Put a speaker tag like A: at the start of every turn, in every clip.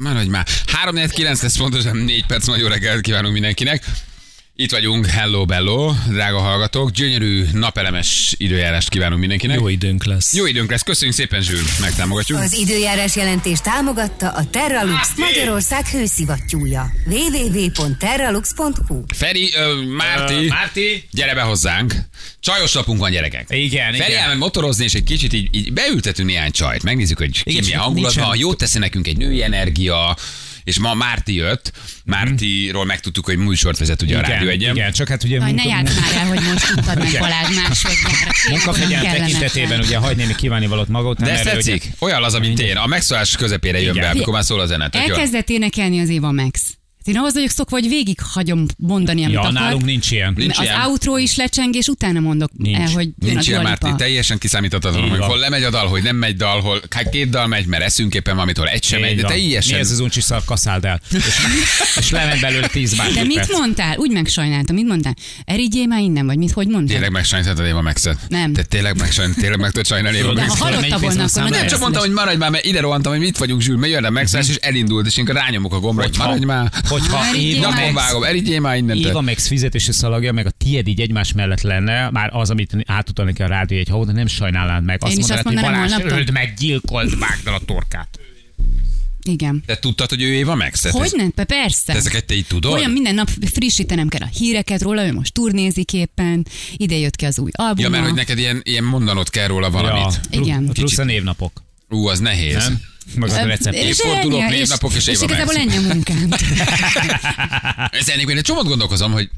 A: Maradj már. 349 lesz pontosan 4 perc, van, jó reggelt kívánunk mindenkinek. Itt vagyunk, hello bello, drága hallgatók, gyönyörű napelemes időjárást kívánunk mindenkinek.
B: Jó időnk lesz.
A: Jó időnk lesz, köszönjük szépen, Zsül, megtámogatjuk.
C: Az időjárás jelentés támogatta a Terralux Magyarország hőszivattyúja. www.terralux.hu
A: Feri, ö, Márti,
D: Ö, Márti.
A: gyere be hozzánk. Csajos napunk van, gyerekek.
D: Igen,
A: Feri
D: igen.
A: elment motorozni, és egy kicsit így, így beültetünk néhány csajt. Megnézzük, hogy ki
D: Igen,
A: milyen
D: csak
A: hangulatban.
D: nincsen-
A: Jót teszi nekünk egy női energia, és ma Márti jött. Mártiról megtudtuk, hogy műsort vezet ugye a
D: Igen,
A: Rádió egyen.
D: igen, csak hát ugye
E: Jaj, ne
D: munka-
E: járd már el, hogy most tudtad meg
D: Igen.
E: Balázs másodjára.
D: munkafegyelm
E: Olyan kellemetlen.
D: tekintetében ugye hagy némi kívánni valót maga után.
A: De ezt
D: erre ugye-
A: tetszik? Olyan az, mint én. A megszólás közepére jön
D: Igen.
A: be, amikor már szól a zene. Tök jó.
E: Elkezdett énekelni az Éva Max. Hát Én ahhoz vagyok szokva, hogy végig hagyom mondani, amit
D: Ja,
E: akar.
D: nálunk nincs ilyen.
A: Nincs
E: az
A: ilyen.
E: outro is lecseng, és utána mondok
D: Nincs.
E: el, hogy jön
A: Nincs
E: a
A: ilyen,
E: Dua
A: Márti,
E: Lipa.
A: teljesen kiszámíthatatlan,
D: Így
A: hogy
D: van.
A: hol lemegy a dal, hogy nem megy dal, hol hát két dal megy, mert eszünk éppen valamit, hol egy sem megy,
D: Így
A: de
D: van.
A: teljesen.
D: Mi ez az uncsi szar, kaszáld el. És, és lement belőle 10
E: De mit mondtál? Úgy megsajnáltam, mit mondtál? Erigyél már innen, vagy mit, hogy mondtál?
A: Tényleg megsajnáltad Éva Maxet?
E: Nem.
A: Te tényleg megsajnáltad, tényleg meg tudod sajnálni Éva
E: De
A: Maxet?
E: ha hallotta volna, akkor
D: Nem,
A: Nem,
E: nagyon
A: csak
E: színes.
A: mondtam, hogy maradj már, mert ide rohantam, hogy mit vagyunk, Zsül, mert jön a megszállás, és elindult, és én rányomok a gombra, Mhm. hogy maradj már.
D: Hogyha
E: Már így
D: Éva
E: van.
A: Nyakon
D: Max,
A: vágom, elígyél már innen.
D: Éva Max fizetési szalagja, meg a tied így egymás mellett lenne, már az, amit átutalni kell a rádió egy hónap, nem sajnálnád meg.
E: Én is azt
D: mondanád, hogy
E: mondanám
D: Balázs,
E: holnaptól.
D: öld meg, gyilkolt, vágd el a torkát.
E: Igen.
A: Te tudtad, hogy ő Éva Maxet?
E: Hogy nem? Pe- Persze.
A: Te ezeket te így tudod?
E: Olyan minden nap frissítenem kell a híreket róla, ő most turnézik éppen, ide jött ki az új albuma.
A: Ja, mert hogy neked ilyen, ilyen mondanod kell róla valamit.
D: Ja,
E: Igen.
D: plusz- Plusz
A: Kicsit.
D: a névnapok.
A: Ú, az nehéz.
D: Nem? Meg az a
E: Ö,
D: recept.
E: és
A: Évfordulók,
E: ennyi a-
A: névnapok és
E: és
A: Éva
E: igazából
A: Max.
E: ennyi a munkám.
A: Ez ennél én egy csomót gondolkozom, hogy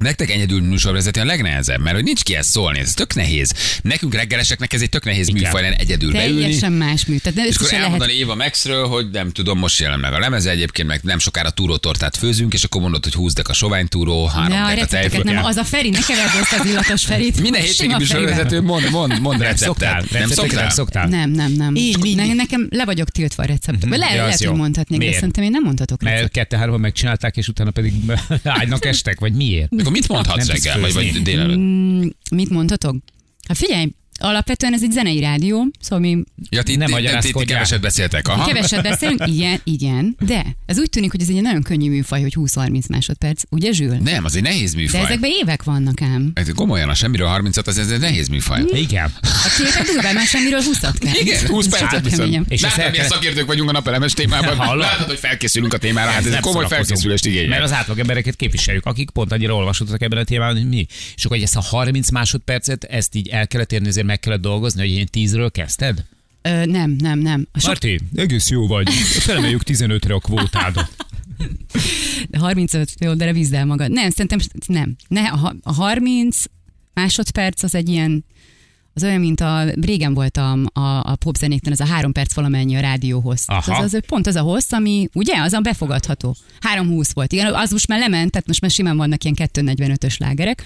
A: Nektek egyedül műsorvezető a legnehezebb, mert hogy nincs kihez szólni, ez tök nehéz. Nekünk reggeleseknek ez egy tök nehéz
D: Igen.
A: műfaj, lenne egyedül beülni.
E: Teljesen más mű. Tehát nem
A: És
E: és
A: akkor
E: se lehet.
A: elmondani Éva Maxről, hogy nem tudom, most jelen meg a lemeze egyébként, meg nem sokára túrótortát főzünk, és akkor mondod, hogy húzd a soványtúró, három
E: Ne, a
A: deka
E: recepteket
A: tejföl.
E: nem, az a Feri, ne keverd össze az illatos Ferit.
A: Minden hétvégi
E: Sima Ferivel.
A: műsorvezető mond, mond, mond
D: Szoktál?
A: receptet. Nem
D: Recepteket
A: szoktál?
D: szoktál?
E: Nem, nem, nem.
D: Így, így,
E: ne,
D: így.
E: nekem le vagyok tiltva a receptekbe. Le,
D: Ja, az
E: lehet,
D: jó.
E: hogy mondhatnék, de
D: Miért?
E: szerintem én nem mondhatok
D: Mert
E: receptet.
D: kette-háromban megcsinálták, és utána pedig ágynak estek, vagy miért?
A: Akkor mit mondhatsz
D: Nem tudsz
A: reggel, vagy, vagy
D: főzni.
A: délelőtt?
E: Mm, Mit mondhatok? Hát figyelj, alapvetően ez egy zenei rádió, szóval mi
A: Ja, ti,
D: Nem
A: ti, ti, ti, ti
D: magyarázkodjál.
A: keveset beszéltek. Aha.
E: keveset beszélünk, igen, igen, de ez úgy tűnik, hogy ez egy nagyon könnyű műfaj, hogy 20-30 másodperc, ugye Zsül?
A: Nem, az egy nehéz
E: De
A: műfaj.
E: ezekben évek vannak ám.
A: Ez komolyan, a semmiről 36, az ez egy nehéz műfaj.
D: Igen.
E: A képek durván már semmiről 20 kell.
A: Igen, 20
E: Sokkal
A: percet viszont.
E: keményebb.
A: És
D: És
A: Látod,
D: ezt el
A: milyen
D: kellett-
A: szakértők vagyunk a napelemes témában.
D: Hallod?
A: Látod, hogy felkészülünk a témára, hát ez
D: Nem
A: egy komoly
D: szórakozunk.
A: felkészülést
D: Mert
A: igényel.
D: az átlag embereket képviseljük, akik pont annyira olvasottak ebben a témában, hogy mi. És akkor hogy ezt a 30 másodpercet, ezt így el kellett érni, ezért meg kellett dolgozni, hogy én 10-ről kezdted?
E: Ö, nem, nem, nem. A sok,
D: Marti, egész jó vagy. Felemeljük 15-re a kvótádat.
E: 35, jó, de vízd el magad. Nem, szerintem nem. Ne, a, ha- a 30 másodperc az egy ilyen az olyan, mint a régen volt a, a, a popzenékten, ez a három perc valamennyi a rádió hossz.
D: Aha.
E: Az, az, pont az a hossz, ami ugye, az a befogadható. 3.20 volt. Igen, az most már lement, tehát most már simán vannak ilyen 2.45-ös lágerek.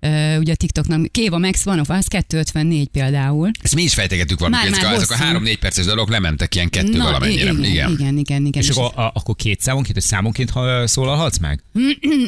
E: Ö, ugye a TikToknak, Kéva Max van, az 2.54 például.
A: Ezt mi is fejtegettük valamit,
E: Már-
A: ezek,
E: már
A: a- ezek a
E: hosszú.
A: három-négy perces dalok lementek ilyen kettő valamennyire.
E: igen, igen,
A: Igen.
E: igen, igen, igen.
D: És akkor, a, akkor két számonként, vagy számonként ha szólalhatsz meg?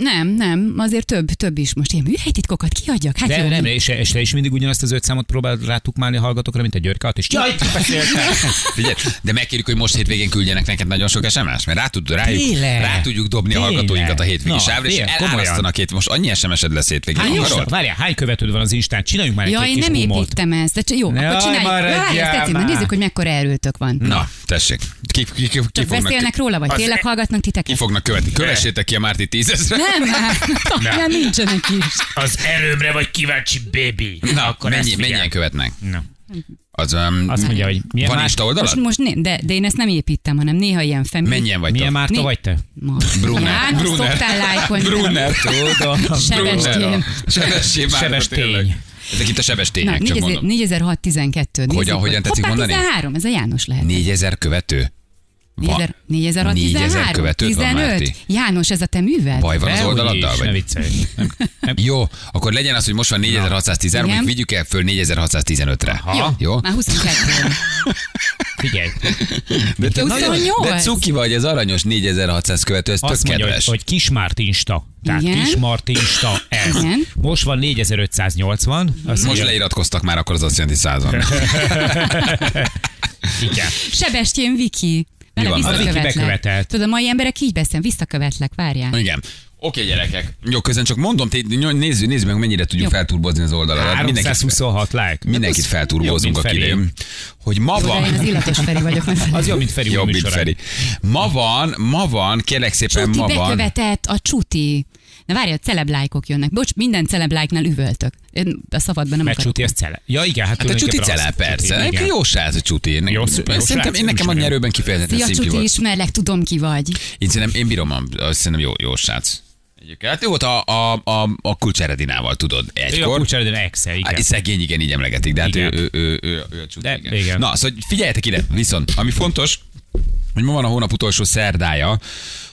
E: Nem, nem, azért több, több is. Most ilyen műhelytitkokat kiadjak? Hát
D: De
E: jó,
D: nem, és, és te is mindig ugyanazt az öt számot próbálod rátukmálni a hallgatókra, mint a györkálat, és jaj, beszéltem.
A: Figyelj, de megkérjük, hogy most hétvégén küldjenek neked nagyon sok SMS, mert rá, tud, rájuk,
D: Tényleg?
A: rá tudjuk dobni a
D: Tényleg?
A: hallgatóinkat a hétvégi
D: Na,
A: sávra, és
D: figyelj, komolyan. Hát
A: elárasztanak itt. Most annyi SMS-ed lesz hétvégén.
D: Hány,
A: akarod?
D: várjál, hány követőd van az Instán? Csináljunk már egy
E: Ja,
D: két
E: én
D: kis
E: nem
D: humort.
E: építem ezt, de c- jó,
D: Jaj,
E: akkor csináljuk.
D: maradjál
E: Várj, ezt tetszik,
D: már.
E: mert nézzük, hogy mekkora erőtök van.
A: Na, tessék. Ki, ki, ki, ki
E: Csak beszélnek róla, vagy
A: az-
E: tényleg hallgatnak
A: Ki
E: titeket?
A: fognak követni? Kövessétek ki a Márti tízezre.
E: Nem, már. nem, nincsenek is.
D: Az erőmre vagy kíváncsi, baby.
A: Na, akkor mennyi, mennyien követnek?
D: Na.
A: Az, um,
D: Azt mondja, hogy milyen,
A: van
D: más,
A: Insta oldalad?
E: Most, most né- de, de én ezt nem építem, hanem néha ilyen femi.
A: Mennyien vagy
D: milyen Márta
E: Mi?
D: vagy te?
A: Brunner.
E: János,
A: Brunner.
E: szoktál lájkolni.
A: Brunner.
E: Sebestjén.
A: Sebestény.
D: Sebestény.
A: Ezek itt a
E: Na,
A: sebestények, csak
E: 4000
A: mondom.
E: 4612. Nézzük,
A: Hogyan- hogyan tetszik
E: Hoppá,
A: mondani?
E: 13, ez a János lehet.
A: 4000 követő. Va-
E: 4000 4613?
A: 4000 követőd van,
E: 15?
A: Márti.
E: János, ez a te műved?
A: Baj van az
D: Ne, úgyis,
A: oldaladdal?
D: Ne
A: Vagy?
D: viccelj.
A: Jó, akkor legyen az, hogy most van 4613,
E: Igen.
A: mondjuk vigyük el föl 4615-re.
D: Jó.
A: Jó?
E: Már 22.
D: Figyelj.
A: De, te
E: nagyon- 28.
A: de cuki vagy, ez aranyos 4600 követő, ez tök
D: Azt mondja, hogy,
A: kedves.
D: hogy Kismártinsta. Tehát
E: Igen.
D: Kismártinsta ez.
E: Igen.
D: Most van 4580. Azt
A: Most
D: mondja,
A: leiratkoztak már, akkor az azt jelenti 100 van.
D: Igen.
A: Hát
E: Sebestyén Viki. Bele
A: van vele?
D: Az Viki
E: visszakövetlek.
D: bekövetelt.
E: Tudod, a mai emberek így beszélnek, visszakövetlek, várjál.
A: Igen. Oké, gyerekek. Jó, közben csak mondom, té- nyom- nézzük, nézzük meg, mennyire tudjuk
E: Jó.
A: felturbozni az oldaladat. Mindenkit,
D: 326 like.
A: mindenkit
D: Hát az jobb,
A: felturbozunk,
D: mint
A: aki
D: Feri.
A: idén. Hogy ma
E: De én az
A: van...
E: illatos Feri vagyok, nem Feri.
D: Az jobb, mint Feri
A: Jobb,
D: új
A: mint
D: műsora.
A: Feri. Ma van, ma van, kérlek szépen,
E: Csuti
A: ma van.
E: bekövetett, a csuti. Na várj, a celeb lájkok jönnek. Bocs, minden celeb lájknál üvöltök. Én a szabadban nem
D: Mert
E: akarok.
D: Csuti az cele. Ja igen, hát,
A: Hát a csuti
D: tulajdonképpen
A: celál,
D: az.
A: persze.
D: Igen.
A: Neki jó srác a csuti. Én-
D: Jó- jó
A: Szerintem
D: srác,
A: én nekem
D: nem
A: annyi
D: is
A: erőben kifejezetten
E: Szia,
A: szimpli
E: Csuti,
A: volt.
E: ismerlek, tudom ki vagy.
A: Én szerintem én bírom, a- azt szerintem jó, jó srác. Egyébként. Hát jó volt a, a, a, a kulcseredinával, tudod,
D: Ő a
A: egykor.
D: kulcseredőn exe, igen.
A: Hát, szegény, igen, így emlegetik, de hát ő,
D: Igen.
A: ő, ő, ő, ő, a csuda.
D: De- igen.
A: Na, szóval figyeljetek ide, viszont, ami fontos, hogy ma van a hónap utolsó szerdája,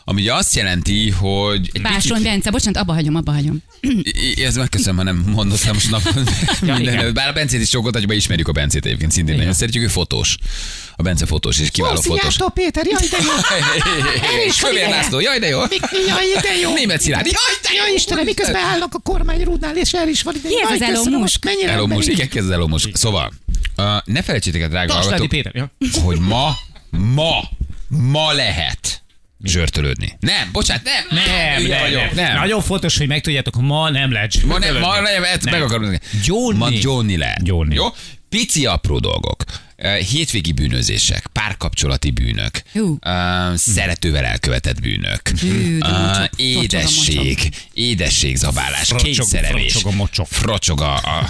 A: ami ugye azt jelenti, hogy... Egy
E: Básony Bence, bocsánat, abba hagyom, abba hagyom.
A: I- Ez megköszönöm, ha nem mondod el most napon. Minden,
D: igen.
A: bár a Bencét is sokat adjuk, ismerjük a Bencét egyébként szintén. Nagyon szeretjük, ő fotós. A Bence fotós, és kiváló fotós.
D: Péter, jaj, de jó.
A: És Kövér László, jaj de jó.
D: Jaj, de jó.
A: Német Szilárd, jaj de jó.
D: állok a kormányrúdnál, és el is van ide.
E: Ki ez az Elon Musk?
D: Mennyire
A: Elomus, igen, kezd elomus. Szóval, uh, ne felejtsétek el, drága
D: Tasládi
A: hallgatók,
D: Péter. Ja.
A: hogy ma, ma, ma lehet zsörtölődni. Nem, bocsánat, nem.
D: Nem,
A: Hülye
D: nem,
A: vagyok,
D: nem,
A: nem.
D: Nagyon fontos, hogy megtudjátok, ma nem lehet
A: Ma nem, ma
D: zsörtölődni.
A: nem, ezt meg akarom.
D: Johnny.
A: Ma Johnny lehet.
D: Johnny.
A: Jó? Pici apró dolgok. Ö, Hétvégi bűnözések, párkapcsolati bűnök,
E: Hú.
A: ö, szeretővel elkövetett bűnök,
E: Hű, de
A: ö,
E: mocsok,
A: édesség, édességzabálás,
D: Frocsog-
A: kényszerelés,
D: frocsog a mocsok.
A: Frocsog a... a...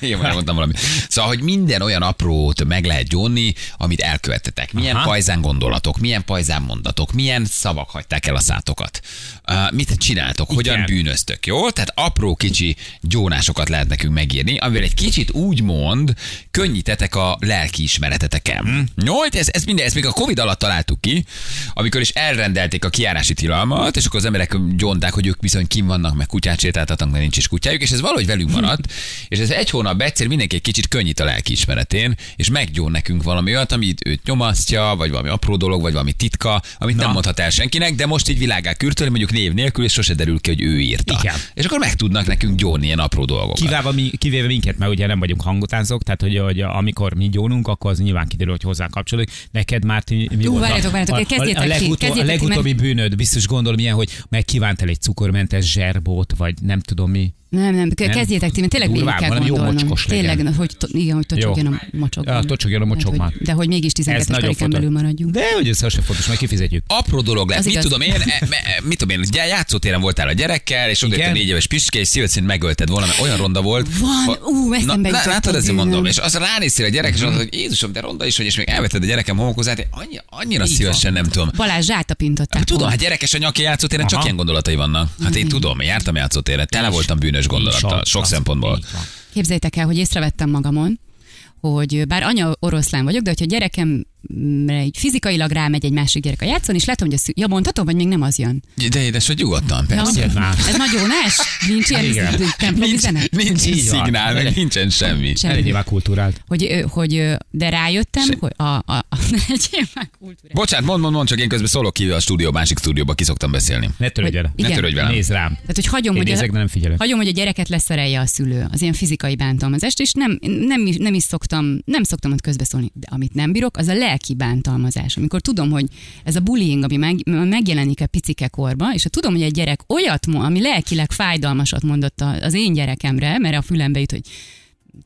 A: Én már mondtam valamit. Szóval, hogy minden olyan aprót meg lehet gyónni, amit elkövettetek. Milyen
D: Aha.
A: pajzán gondolatok, milyen pajzán mondatok, milyen szavak hagyták el a szátokat. Ö, Mit csináltok, hogyan
D: Igen.
A: bűnöztök, jó? Tehát apró kicsi gyónásokat lehet nekünk megírni, amivel egy kicsit úgymond könnyítetek a lelki ismereteteken.
D: Mhm.
A: Hmm. Jó, ez, ez minden, ezt még a Covid alatt találtuk ki, amikor is elrendelték a kiárási tilalmat, és akkor az emberek gyónták, hogy ők bizony kim vannak, meg kutyát sétáltatnak, mert nincs is kutyájuk, és ez valahogy velünk maradt, és ez egy hónap egyszer mindenki egy kicsit könnyít a lelki ismeretén, és meggyón nekünk valami olyat, amit őt nyomasztja, vagy valami apró dolog, vagy valami titka, amit Na. nem mondhat el senkinek, de most így világá kürtöli, mondjuk név nélkül, és sose derül ki, hogy ő írta.
D: Igen.
A: És akkor meg tudnak nekünk gyónni ilyen apró dolgokat.
D: Kivéve, mi, kivéve minket, mert ugye nem vagyunk hangutánzók, tehát hogy, hogy amikor mi gyónunk, akkor az nyilván kiderül, hogy hozzánk kapcsolódik. Neked már mi
E: Ú,
D: volt a-
E: várjatok, várjatok, kezdjétek
D: a, a,
E: ti,
D: legutó, a
E: kezdjétek ti,
D: legutóbbi bűnöd, biztos gondolom ilyen, hogy megkívántál egy cukormentes zserbót, vagy nem tudom mi.
E: Nem, nem, kezdjétek ti, mert
D: Durván,
E: tényleg végig kell
D: valami jó
E: gondolnom.
D: mocskos legyen.
E: tényleg, na, hogy, to, igen, hogy tocsogjon a mocsok.
D: Ja, tocsogjon a mocsokban.
E: De, hogy, de hogy mégis 12-es karikán belül maradjunk.
D: De hogy ez az sem fontos, majd kifizetjük.
A: apró dolog lett.
E: Az
A: Mit
E: igaz.
A: tudom én, e, e, e, mit tudom én, ugye játszótéren voltál a gyerekkel, és ott jött a
D: Igen.
A: négy éves piske, és szíved szerint megölted volna, mert olyan ronda volt.
E: Van,
A: Ha-
E: ú,
A: Na,
E: eszembe
A: lá-
E: jutott
A: látod,
E: a
A: ezért mondom,
E: bűnöm.
A: és azra ránéztél a gyerek, és azt mondod, hogy Jézusom, de ronda is vagy, és még elvetted a gyerekem homokozát, én annyi, annyira
D: van.
A: szívesen nem tudom.
E: Balázs rátapintották.
A: Hát tudom,
E: volna.
A: hát gyerekes a nyaki játszótéren csak
D: Aha.
A: ilyen gondolatai vannak. Hát
E: Mhm.
A: én tudom, jártam játszótéren, tele voltam bűnös gondolattal,
D: Így van,
A: sok
D: az-
A: szempontból.
D: így van.
E: Képzeljétek el, hogy észrevettem magamon, hogy bár anya oroszlán vagyok, de hogyha gyerekemre egy fizikailag rámegy egy másik gyerek a játszón, és látom, hogy a szü- ja, mondhatom, vagy még nem az jön.
A: De édes, hogy nyugodtan, persze.
D: Azért már.
E: Ez nagyónás? Nincs ilyen
D: Hát Igen.
E: üz- templom
A: Nincs,
E: üzenet?
A: nincs
D: Így van.
A: szignál, meg nincsen semmi.
E: Semmi.
D: Elég nyilván kultúrált.
E: Hogy, ö, hogy, ö, de rájöttem, hogy a, a, a egy ilyen már kultúra.
A: Bocsánat, mond, mond, mond, csak én közben szólok ki a stúdió, másik stúdióba kiszoktam beszélni.
D: Ne törődj
E: Hogy-
D: vele.
E: igen.
A: Ne törődj velem.
D: Nézd rám.
E: Tehát, hogy hagyom,
D: Én
E: hogy,
D: nézek, de nem figyelek.
E: hagyom, hogy a gyereket leszerelje a szülő, az ilyen fizikai bántalmazást, és nem, nem, is, nem is szoktam, nem szoktam ott közbeszólni, de amit nem bírok, az a lelki bántalmazás. Amikor tudom, hogy ez a bullying, ami meg, megjelenik a picike korba, és ha tudom, hogy egy gyerek olyat, mo- ami lelkileg fájdalmasat mondott a- az én gyerekemre, mert a fülembe jut, hogy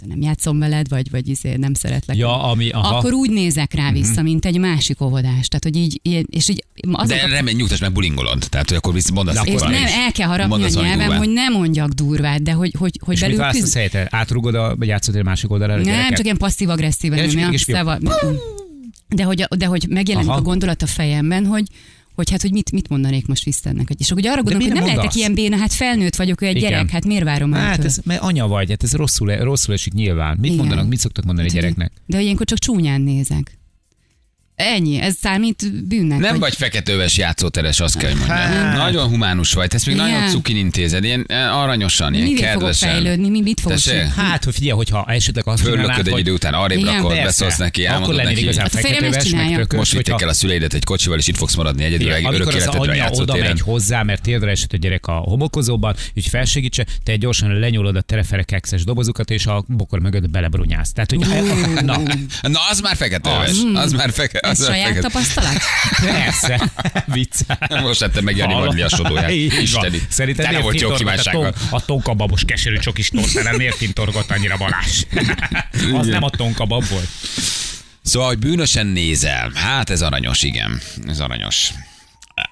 E: nem játszom veled, vagy, vagy izé, nem szeretlek.
D: Ja, ami, aha. Mhm.
E: Akkor úgy nézek rá vissza, mint egy másik óvodás. Tehát, hogy így, ilyen- és így azok
A: De remélem, nyugtass meg bulingolod. Tehát, hogy akkor visz, mondasz
D: De
E: és
A: valamit.
E: nem, el kell harapni a
A: Mondasz valami
E: nyelvem,
A: durvát.
E: hogy ne mondjak durvát, de hogy, hogy, hogy
D: És mit
E: belül
D: választasz helyette? Átrugod a játszótér másik oldalára? a
E: Nem,
D: gyereket?
E: csak ilyen passzív-agresszíven.
D: Gyere,
E: nem,
D: és-
E: nem,
D: és fiú.
E: szava- Mm. De hogy, de hogy megjelenik
D: Aha.
E: a gondolat a fejemben, hogy hogy hát, hogy mit, mit mondanék most vissza ennek. És akkor ugye arra gondolok,
D: miért
E: hogy nem
D: nem
E: lehetek
D: mondasz?
E: ilyen béna, hát felnőtt vagyok, ő egy
D: Igen.
E: gyerek, hát miért várom
D: Hát
E: őtől?
D: ez, mert anya vagy, hát ez rosszul, rosszul esik nyilván. Mit
E: Igen.
D: mondanak, mit szoktak mondani a gyereknek?
E: De hogy ilyenkor csak csúnyán nézek. Ennyi, ez számít bűnnek.
A: Nem
E: hogy-
A: vagy feketőves játszóteres, azt kell, hogy mondjam.
D: Hát.
A: Nagyon humánus vagy, ezt még
E: Igen.
A: nagyon cukin intézed, ilyen eh, aranyosan, ilyen
E: Mivel fogok
A: kedvesen.
E: fejlődni, mi mit fogok
A: Tessék?
E: csinálni?
D: Hát, hogy figyelj, hogyha esetleg azt
A: Fölököd egy idő után, arrébb
E: Igen,
A: rakod,
E: persze.
A: beszólsz neki,
D: akkor
A: elmondod
D: lennél
A: neki.
D: igazán
E: Hát a férjem ezt
D: feketőves, meg
E: csinálja.
D: tökös,
A: Most vitték el a szüleidet egy kocsival, és itt fogsz maradni egyedül, egy örök
D: amikor az
A: életedre a
D: anyja oda
A: játszótéren.
D: megy hozzá, mert térdre esett a gyerek a homokozóban, hogy felsegítse, te gyorsan lenyúlod a tereferek exes dobozukat, és a bokor mögött belebrunyálsz. Tehát, hogy na,
A: Na, az már feketőves. Az már feke...
E: Ez saját tapasztalat?
D: Persze. Viccel.
A: Most ettem meg Jani
D: Hallod?
A: Maglia sodóját.
D: Így van.
A: Isteni.
D: Szerinted
A: Tele
D: miért
A: volt jó
D: fintorgott a,
A: kívánsággal.
D: ton, a tonkababos keserű csokis tortánál? Miért fintorgott annyira Balázs? Az
A: Igen.
D: nem a tonkabab volt.
A: Szóval, hogy bűnösen nézel. Hát ez aranyos, igen. Ez aranyos.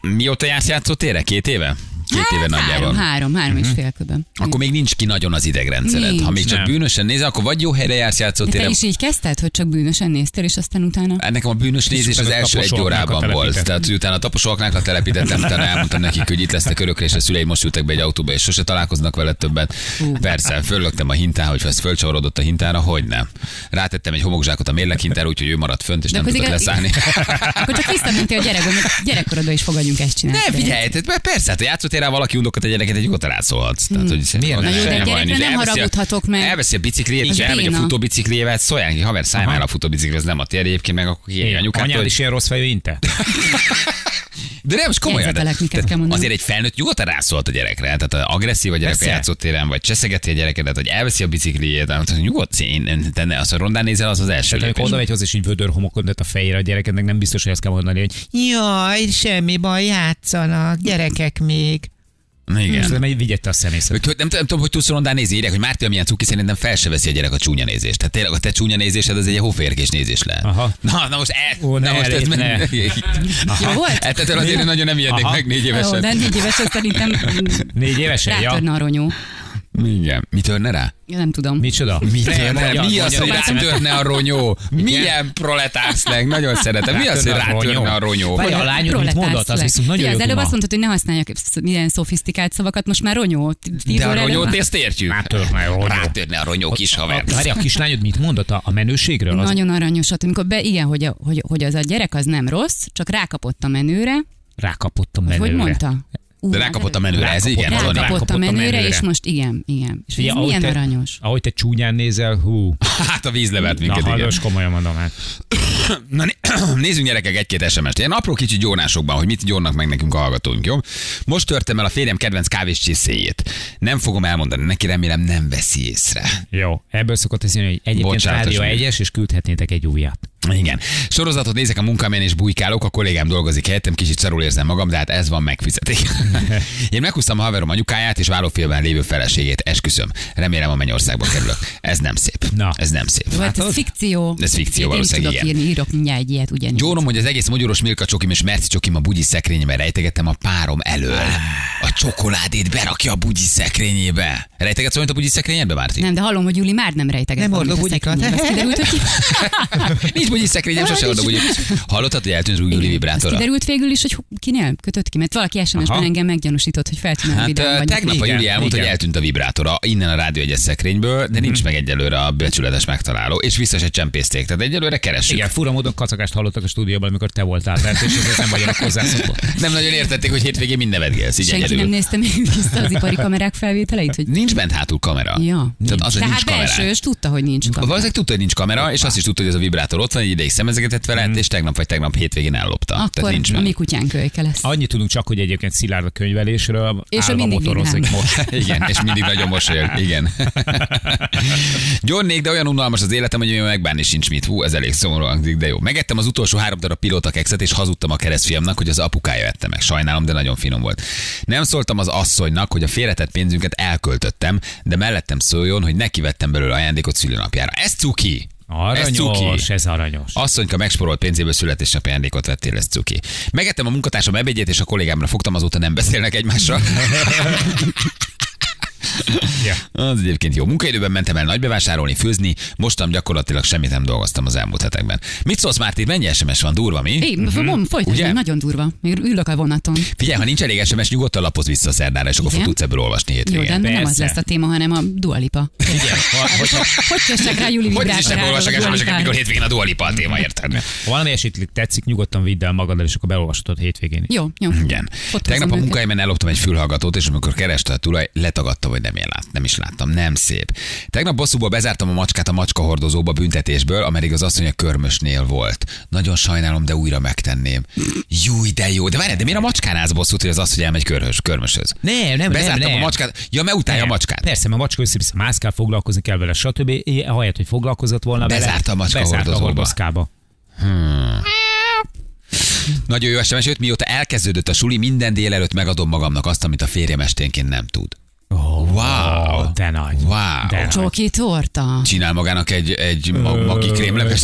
A: Mióta jársz játszótérre? Két éve? Két éve nagyjából.
E: Hát, Három, három, három
D: Mhm.
E: és fél körben.
A: Akkor még nincs ki nagyon az idegrendszered.
E: Nincs.
A: ha még csak
D: Nem.
A: bűnösen nézel, akkor vagy jó helyre jársz
E: De te
A: játszótérre.
E: is így kezdted, hogy csak bűnösen néztél, és aztán utána?
A: Nekem a bűnös nézés az
D: ezek
A: első egy
D: taposóaknákat
A: órában volt.
D: telepítettem.
A: Tehát utána a taposolaknákra telepítettem, utána elmondtam nekik, hogy itt lesznek örökre, és a szüleim most ültek be egy autóba, és sose találkoznak vele többet. Persze, föllöktem a hintára, hogyha ez fölcsavarodott a hintára, hogy nem. Rátettem egy homokzsákot a mérlek hintára, úgyhogy ő maradt fönt, és
E: De
A: nem
E: akkor
A: tudott
E: az igaz-
A: leszállni.
E: Akkor csak visszamentél a gyerekom, gyerekkorodba is fogadjunk ezt csinálni.
A: Ne, figyelj, tehát mert persze, hát a játszótérrel valaki undokat egy gyereket, egy ott elátszolhatsz. Tehát, hogy
D: Miért
A: van
D: ne?
A: erre
D: Na jó, de
A: semmi baj
E: gyerekre
A: nincs.
E: nem
A: Elveszi a-
E: haragudhatok meg.
A: Elveszi a bicikliét,
E: Ez
A: és elmegy a
E: béna.
A: futóbicikliével, szóljál ki, haver, szállj már el a futóbiciklivel, ez nem a tér egyébként, meg akkor kiérj anyukát.
D: Anyád
A: hogy-
D: is ilyen rossz fejű, inte?
A: De nem, most komolyan. de-
E: Jegyzetelek, miket
A: tehát
E: kell mondanom.
A: Azért egy felnőtt nyugodtan rászólt a gyerekre, hát, tehát a agresszív a gyerek a
D: Persze.
A: játszótéren, vagy cseszegeti a gyereket, vagy elveszi a bicikliét, nem tudom, nyugodsz, én- én, te ne, azt a rondán nézel, az az első
D: Tehát Hát, amikor
A: lépés.
D: oda megy hozzá, és így vödör homokodott a fejére a gyerekednek, nem biztos, hogy azt kell mondani, hogy jaj, semmi baj, játszanak, gyerekek még.
A: Igen.
D: Szerintem egy vigyette a szemészet.
A: Hogy, hogy nem, nem, tudom, hogy tudsz rondán nézni, írják, hogy Márti, amilyen cuki, szerintem fel se veszi a gyerek a csúnya nézést. Tehát tényleg a te csúnya nézésed az egy ilyen hóférkés nézés lehet.
D: Aha.
A: Na, na most, e,
D: Ó,
A: na
D: ne,
A: most ez
D: ne.
A: ne.
E: Jó volt?
A: Hát ettől azért én nagyon nem ijednék
D: Aha.
A: meg négy
E: Ó, de
A: évesen.
E: négy évesen szerintem
D: Négy évesen, ja?
E: rátörne a ronyó.
A: Igen. Mi törne rá?
E: Ja, Nem tudom.
D: Micsoda?
A: Mi,
D: Te, mondja,
A: mi az,
D: mondja,
A: hogy
D: mondja.
A: rátörne a ronyó? Milyen proletárszleg? Nagyon szeretem. Mi az, hogy rátörne a ronyó?
D: Várj, a lányod mit
E: Proletársz
D: mondott, az
E: leg.
D: viszont nagyon
E: Ugye,
D: jó
E: Az előbb
D: duma.
E: azt mondtad, hogy ne használjak ilyen szofisztikált szavakat, most már ronyó. T- tíz
A: De a
E: óra előtt-
A: ronyót ezt értjük.
D: Rátörne a ronyó.
A: Rátörne a ronyó kis haver.
D: Várj, a kislányod mit mondott a, a menőségről? Az
E: Nagyon aranyosat, amikor be, igen, hogy, a, hogy, hogy az a gyerek az nem rossz, csak rákapott a menőre,
D: rákapott a
E: vagy
D: menőre.
E: hogy mondta? Ú,
A: De
E: hát
A: rákapott a menőre, ez
D: Rákapott.
A: igen,
E: Rákapott,
A: Zoli.
D: Rákapott
E: a
D: a
E: menőre,
D: menőre.
E: és most igen, igen. És
D: Ugye,
E: ez
D: ahogy
E: milyen
D: te-
E: aranyos.
D: Ahogy te csúnyán nézel, hú.
A: Hát a víz levert
D: Na,
A: minket, igen.
D: hallgass, komolyan mondom hát.
A: Na, né- nézzünk gyerekek egy-két SMS-t. Ilyen apró kicsi gyónásokban, hogy mit gyónnak meg nekünk a hallgatóink, jó? Most törtem el a férjem kedvenc kávés csészéjét. Nem fogom elmondani neki, remélem nem veszi észre.
D: Jó, ebből szokott ez jönni, hogy egyébként
A: Bocsánatos
D: Rádió
A: meg.
D: egyes, és küldhetnétek egy újat.
A: Igen. Sorozatot nézek a munkámén és bujkálok, a kollégám dolgozik helyettem, kicsit szarul érzem magam, de hát ez van megfizeték. Én meghúztam a haverom anyukáját és vállófélben lévő feleségét, esküszöm. Remélem a Mennyországba kerülök. Ez nem szép.
D: Na.
A: Ez nem szép.
E: Jó, hát ez fikció.
A: Ez fikció,
E: Én is
A: valószínűleg
E: tudok
A: ilyen.
E: írni, írok mindjárt egy ilyet, ugyanis.
A: Gyónom, hogy az egész magyaros milka csokim és merci csokim a bugyi szekrényben rejtegettem a párom elől. A csokoládét berakja a bugyi szekrényébe. Rejtegetsz valamit a bugyi szekrényedbe, Márti?
E: Nem, de hallom, hogy Juli már nem rejteget.
D: Nem
E: valamit
D: hordok
E: a
D: bugyikat.
E: szekrénybe. Azt kiderült, hogy
A: Nincs bugyi szekrényem, sose adom, hogy hallottad, hogy eltűnt Rúgi
E: Azt
A: vibrátora?
E: kiderült végül is, hogy kinél kötött ki, mert valaki SMS-ben
D: Aha.
E: engem meggyanúsított, hogy feltűnő
A: Hát
E: videón
A: ö,
E: vagyok.
A: tegnap a
D: Igen,
A: Júli elmondta, hogy
D: igen.
A: eltűnt a vibrátora innen a rádió egyes szekrényből, de
E: Mhm.
A: nincs meg egyelőre a becsületes megtaláló, és vissza se csempészték. Tehát egyelőre keressük.
D: Igen, fura módon kacakást hallottak a stúdióban, amikor te voltál bent, és ezért nem vagyok hozzászokva.
A: Nem nagyon értették, hogy hétvégén mind nevetgélsz, így
E: Senki nem
A: egyedül.
E: nézte még vissza az ipari kamerák felvételeit, hogy...
A: Nincs bent hátul kamera.
E: Ja. hát
A: Tehát az, hogy
E: Tehát
A: nincs kamera.
E: belsős tudta, hogy nincs kamera.
A: Valószínűleg tudta, hogy nincs kamera, és azt is tudta, hogy ez a vibrátor ott van, egy ideig szemezgetett vele, és tegnap vagy tegnap hétvégén ellopta. Tehát
E: Mm. Akkor
A: nincs
E: a
A: meg.
E: mi kutyánk kölyke lesz.
D: Annyit tudunk csak, hogy egyébként szilárd a könyvelésről,
E: És ő
D: állva
E: mindig
D: motorozik
E: vidám.
D: most.
A: Igen, és mindig nagyon mosolyog. Igen. Gyonnék, de olyan unalmas az életem, hogy olyan megbánni sincs mit. Hú, ez elég szomorú hangzik, de jó. Megettem az utolsó három darab pilóta kekszet, és hazudtam a keresztfiamnak, hogy az apukája ette meg. Sajnálom, de nagyon finom volt. Nem szóltam az asszonynak, hogy a félretett pénzünket elköltöttem, de mellettem szóljon, hogy neki vettem belőle ajándékot szülőnapjára. Ez cuki! ez cuki.
D: Aranyos, ez aranyos.
A: Asszonyka megsporolt pénzéből születésnapi ajándékot vettél, ez cuki. Megettem a munkatársam ebédjét, és a kollégámra fogtam, azóta nem beszélnek egymással.
D: Ja.
A: Az egyébként jó. Munkaidőben mentem el nagybevásárolni, főzni, mostam gyakorlatilag semmit nem dolgoztam az elmúlt hetekben. Mit szólsz, Márti, mennyi SMS van, durva mi?
E: Én, mondom,
A: Mhm. Ugye?
E: folytatjuk, nagyon durva. Még ülök a vonaton.
A: Figyelj, ha nincs elég SMS, nyugodtan lapoz vissza a szerdára, és akkor
E: Igen.
A: tudsz ebből olvasni
E: Jó,
A: hétvégén.
E: de nem az
D: persze.
E: lesz a téma, hanem a dualipa.
D: Igen, ha, hogyha
E: Hogy kössek rá
A: Hogy is
E: Juli
A: nem
E: vibrátorára?
A: olvasok
E: a
A: SMS-eket,
E: Dua
A: mikor
E: Lipára?
A: hétvégén a dualipa a téma, érted?
D: ha valami esetleg tetszik, nyugodtan vidd el magaddal, és akkor beolvashatod hétvégén.
E: Jó, jó.
A: Igen.
E: Ott
A: Tegnap a
E: hozom őket.
A: munkahelyemen elloptam egy fülhallgatót, és amikor kereste a tulaj, letagadta, hogy nem, én lát, nem is láttam. Nem szép. Tegnap bosszúból bezártam a macskát a macskahordozóba büntetésből, ameddig az asszony a körmösnél volt. Nagyon sajnálom, de újra megtenném. Júj, de jó. De várj, de miért a macskán állsz bosszút, hogy az asszony elmegy körhös, körmöshöz?
D: Nem, nem,
A: Bezártam
D: nem, nem.
A: a macskát. Ja, mert utálja a
D: Nem.
A: macskát.
D: Persze, mert a macska össze mászkál, foglalkozni kell vele, stb. Ahelyett, hogy foglalkozott volna
A: Bezárta
D: vele,
A: a macska
D: bezárta a
A: hordozóba.
D: hordozkába.
A: Nagyon jó SMS, jött, mióta elkezdődött a suli, minden délelőtt megadom magamnak azt, amit a férjem esténként nem tud.
D: Oh,
A: Wow.
D: De nagy.
A: Wow.
D: De nagy.
E: Csoki torta.
A: Csinál magának egy, egy ma- maki krémleves.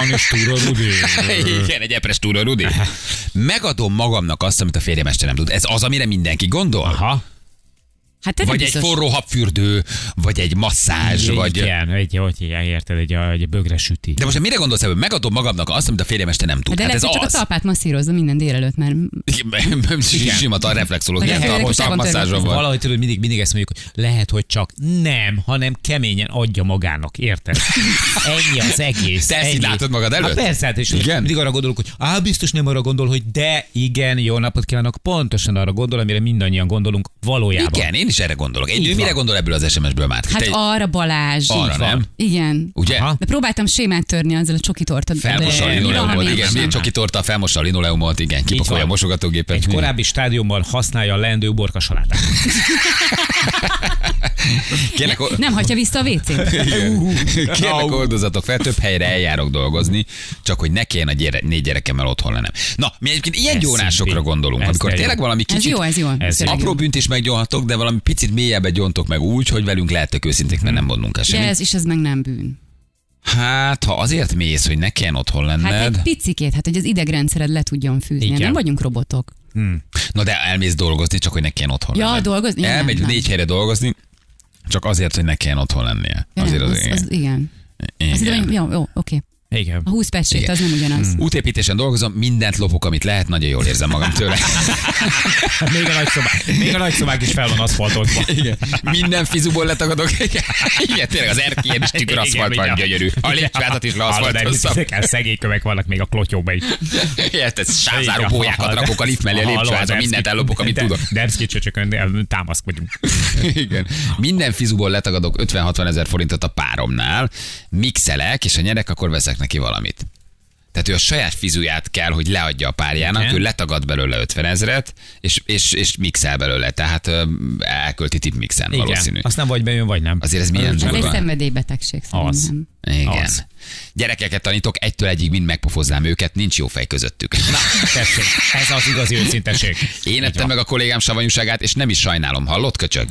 D: Anis túra, Rudi.
A: Igen, egy epres túra, Rudi. Megadom magamnak azt, amit a férjem este nem tud. Ez az, amire mindenki gondol?
D: Aha.
E: Hát te
A: Vagy egy
E: biztos.
A: forró habfürdő, vagy egy masszázs, vagy...
D: Igen, egy, hogy hívják, érted, egy, egy bögre süti.
A: De most mire gondolsz ebből? Megadom magamnak azt, amit a férjem este nem tud.
E: De
A: hát
E: lehet,
A: ez
E: hogy csak a
A: az.
E: talpát masszírozza minden délelőtt, mert
A: Igen, Sima a reflexolók,
E: Vagy
A: ilyen
E: a
A: talpon
E: férjek is el van
A: talpmasszázson
E: törve.
A: van.
D: Valahogy tudod, mindig, mindig ezt mondjuk, hogy lehet, hogy csak nem, hanem keményen adja magának, érted? Ennyi az egész.
A: Te ezt így
D: ennyi.
A: látod magad előtt?
D: Hát persze, hát és
A: Igen?
D: igen. mindig arra gondolok, hogy á, biztos nem arra gondol, hogy de igen, jó napot kívánok, pontosan arra gondol, amire mindannyian gondolunk valójában.
A: Igen, én is erre gondolok. Egy
D: Így
A: nő mire
D: van.
A: gondol ebből az SMS-ből már?
E: hát
A: Te-
E: arra Balázs.
A: arra
E: Így van.
A: nem.
E: Igen.
A: Ugye?
D: Aha.
E: De próbáltam sémát törni azzal a csoki torta.
A: Felmossa a
D: De-
E: Valami
A: linoleumot, igen,
E: ilyesmi.
A: milyen csoki torta, felmossa a linoleumot, igen, kipakolja a
D: van.
A: mosogatógépet.
D: Egy
A: Igen.
D: korábbi stádiumban használja a leendő uborka salátát.
A: Kérlek, o-
E: Nem hagyja vissza a WC-t.
A: Igen. Kérlek, oldozatok fel, több helyre eljárok dolgozni, csak hogy ne kelljen a gyere, négy gyerekemmel otthon lennem. Na, mi egyébként ilyen
D: Ez
A: gyónásokra
D: szintén.
A: gondolunk,
D: Ez
A: amikor
D: de jó.
A: tényleg valami
E: Ez
A: kicsit
E: jó, ez jó.
D: Ez
E: tényleg jó.
A: apró bűnt is meggyónhatok, de valami picit mélyebbe gyontok meg úgy, hogy velünk lehetek őszinték, mert nem mondunk el
E: De
A: semmit.
E: ez is ez meg nem bűn.
A: Hát, ha azért mész, hogy ne kelljen otthon
E: Hát
A: lenned,
E: egy picikét, hát hogy az idegrendszered le tudjon fűzni.
D: Igen.
E: Nem vagyunk robotok.
A: na de elmész dolgozni, csak hogy ne kelljen otthon
E: Ja,
A: lenned.
E: dolgozni? Ja, nem,
A: Elmegy
E: nem.
A: négy helyre dolgozni, csak azért, hogy ne kelljen otthon lennie.
E: Ja,
A: Azért
E: nem,
A: az,
E: az, az, igen. Az ide
A: igen.
E: vagyunk- Jó, jó, oké.
D: Igen.
E: A 20 pecsét,
A: Igen. Mm.
E: az nem ugyanaz.
A: Útépítésen dolgozom, mindent lopok, amit lehet, nagyon jól érzem magam tőle.
D: Hát Még a nagyszobák, még a nagyszobák is fel van aszfaltozva.
A: Igen. Minden fizuból letagadok. Igen, Igen tényleg az erkélyen is tükör aszfalt van, gyönyörű. A lépcsvázat is leaszfaltoztam.
D: Ezek szegélykövek vannak még a klotyóba is.
A: Érted, sávzáró
D: Igen.
A: bójákat rakok a lift mellé, a
D: Hallod,
A: lépcsvázat,
D: Demszki-
A: mindent ellopok, amit
D: De-
A: tudok.
D: Demszki csöcsökön de- támaszkodjunk.
A: Igen. Minden fizuból letagadok 50-60 ezer forintot a páromnál, mixelek, és ha nyerek, akkor veszek neki valamit. Tehát ő a saját fizuját kell, hogy leadja a párjának,
D: Igen.
A: ő letagad belőle 50 ezeret, és, és, és mixel belőle, tehát ö, elkölti tip mixen Igen. valószínű.
D: Azt nem vagy bejön, vagy nem.
A: Azért ez milyen
E: Ez egy
A: durva.
E: szenvedélybetegség
D: Az.
E: szerintem.
A: Igen.
D: Az.
A: Gyerekeket tanítok, egytől egyig mind megpofoznám őket, nincs jó fej közöttük. Na,
D: Tessék, ez az igazi őszinteség.
A: én ettem meg a kollégám savanyúságát, és nem is sajnálom, hallott köcsög?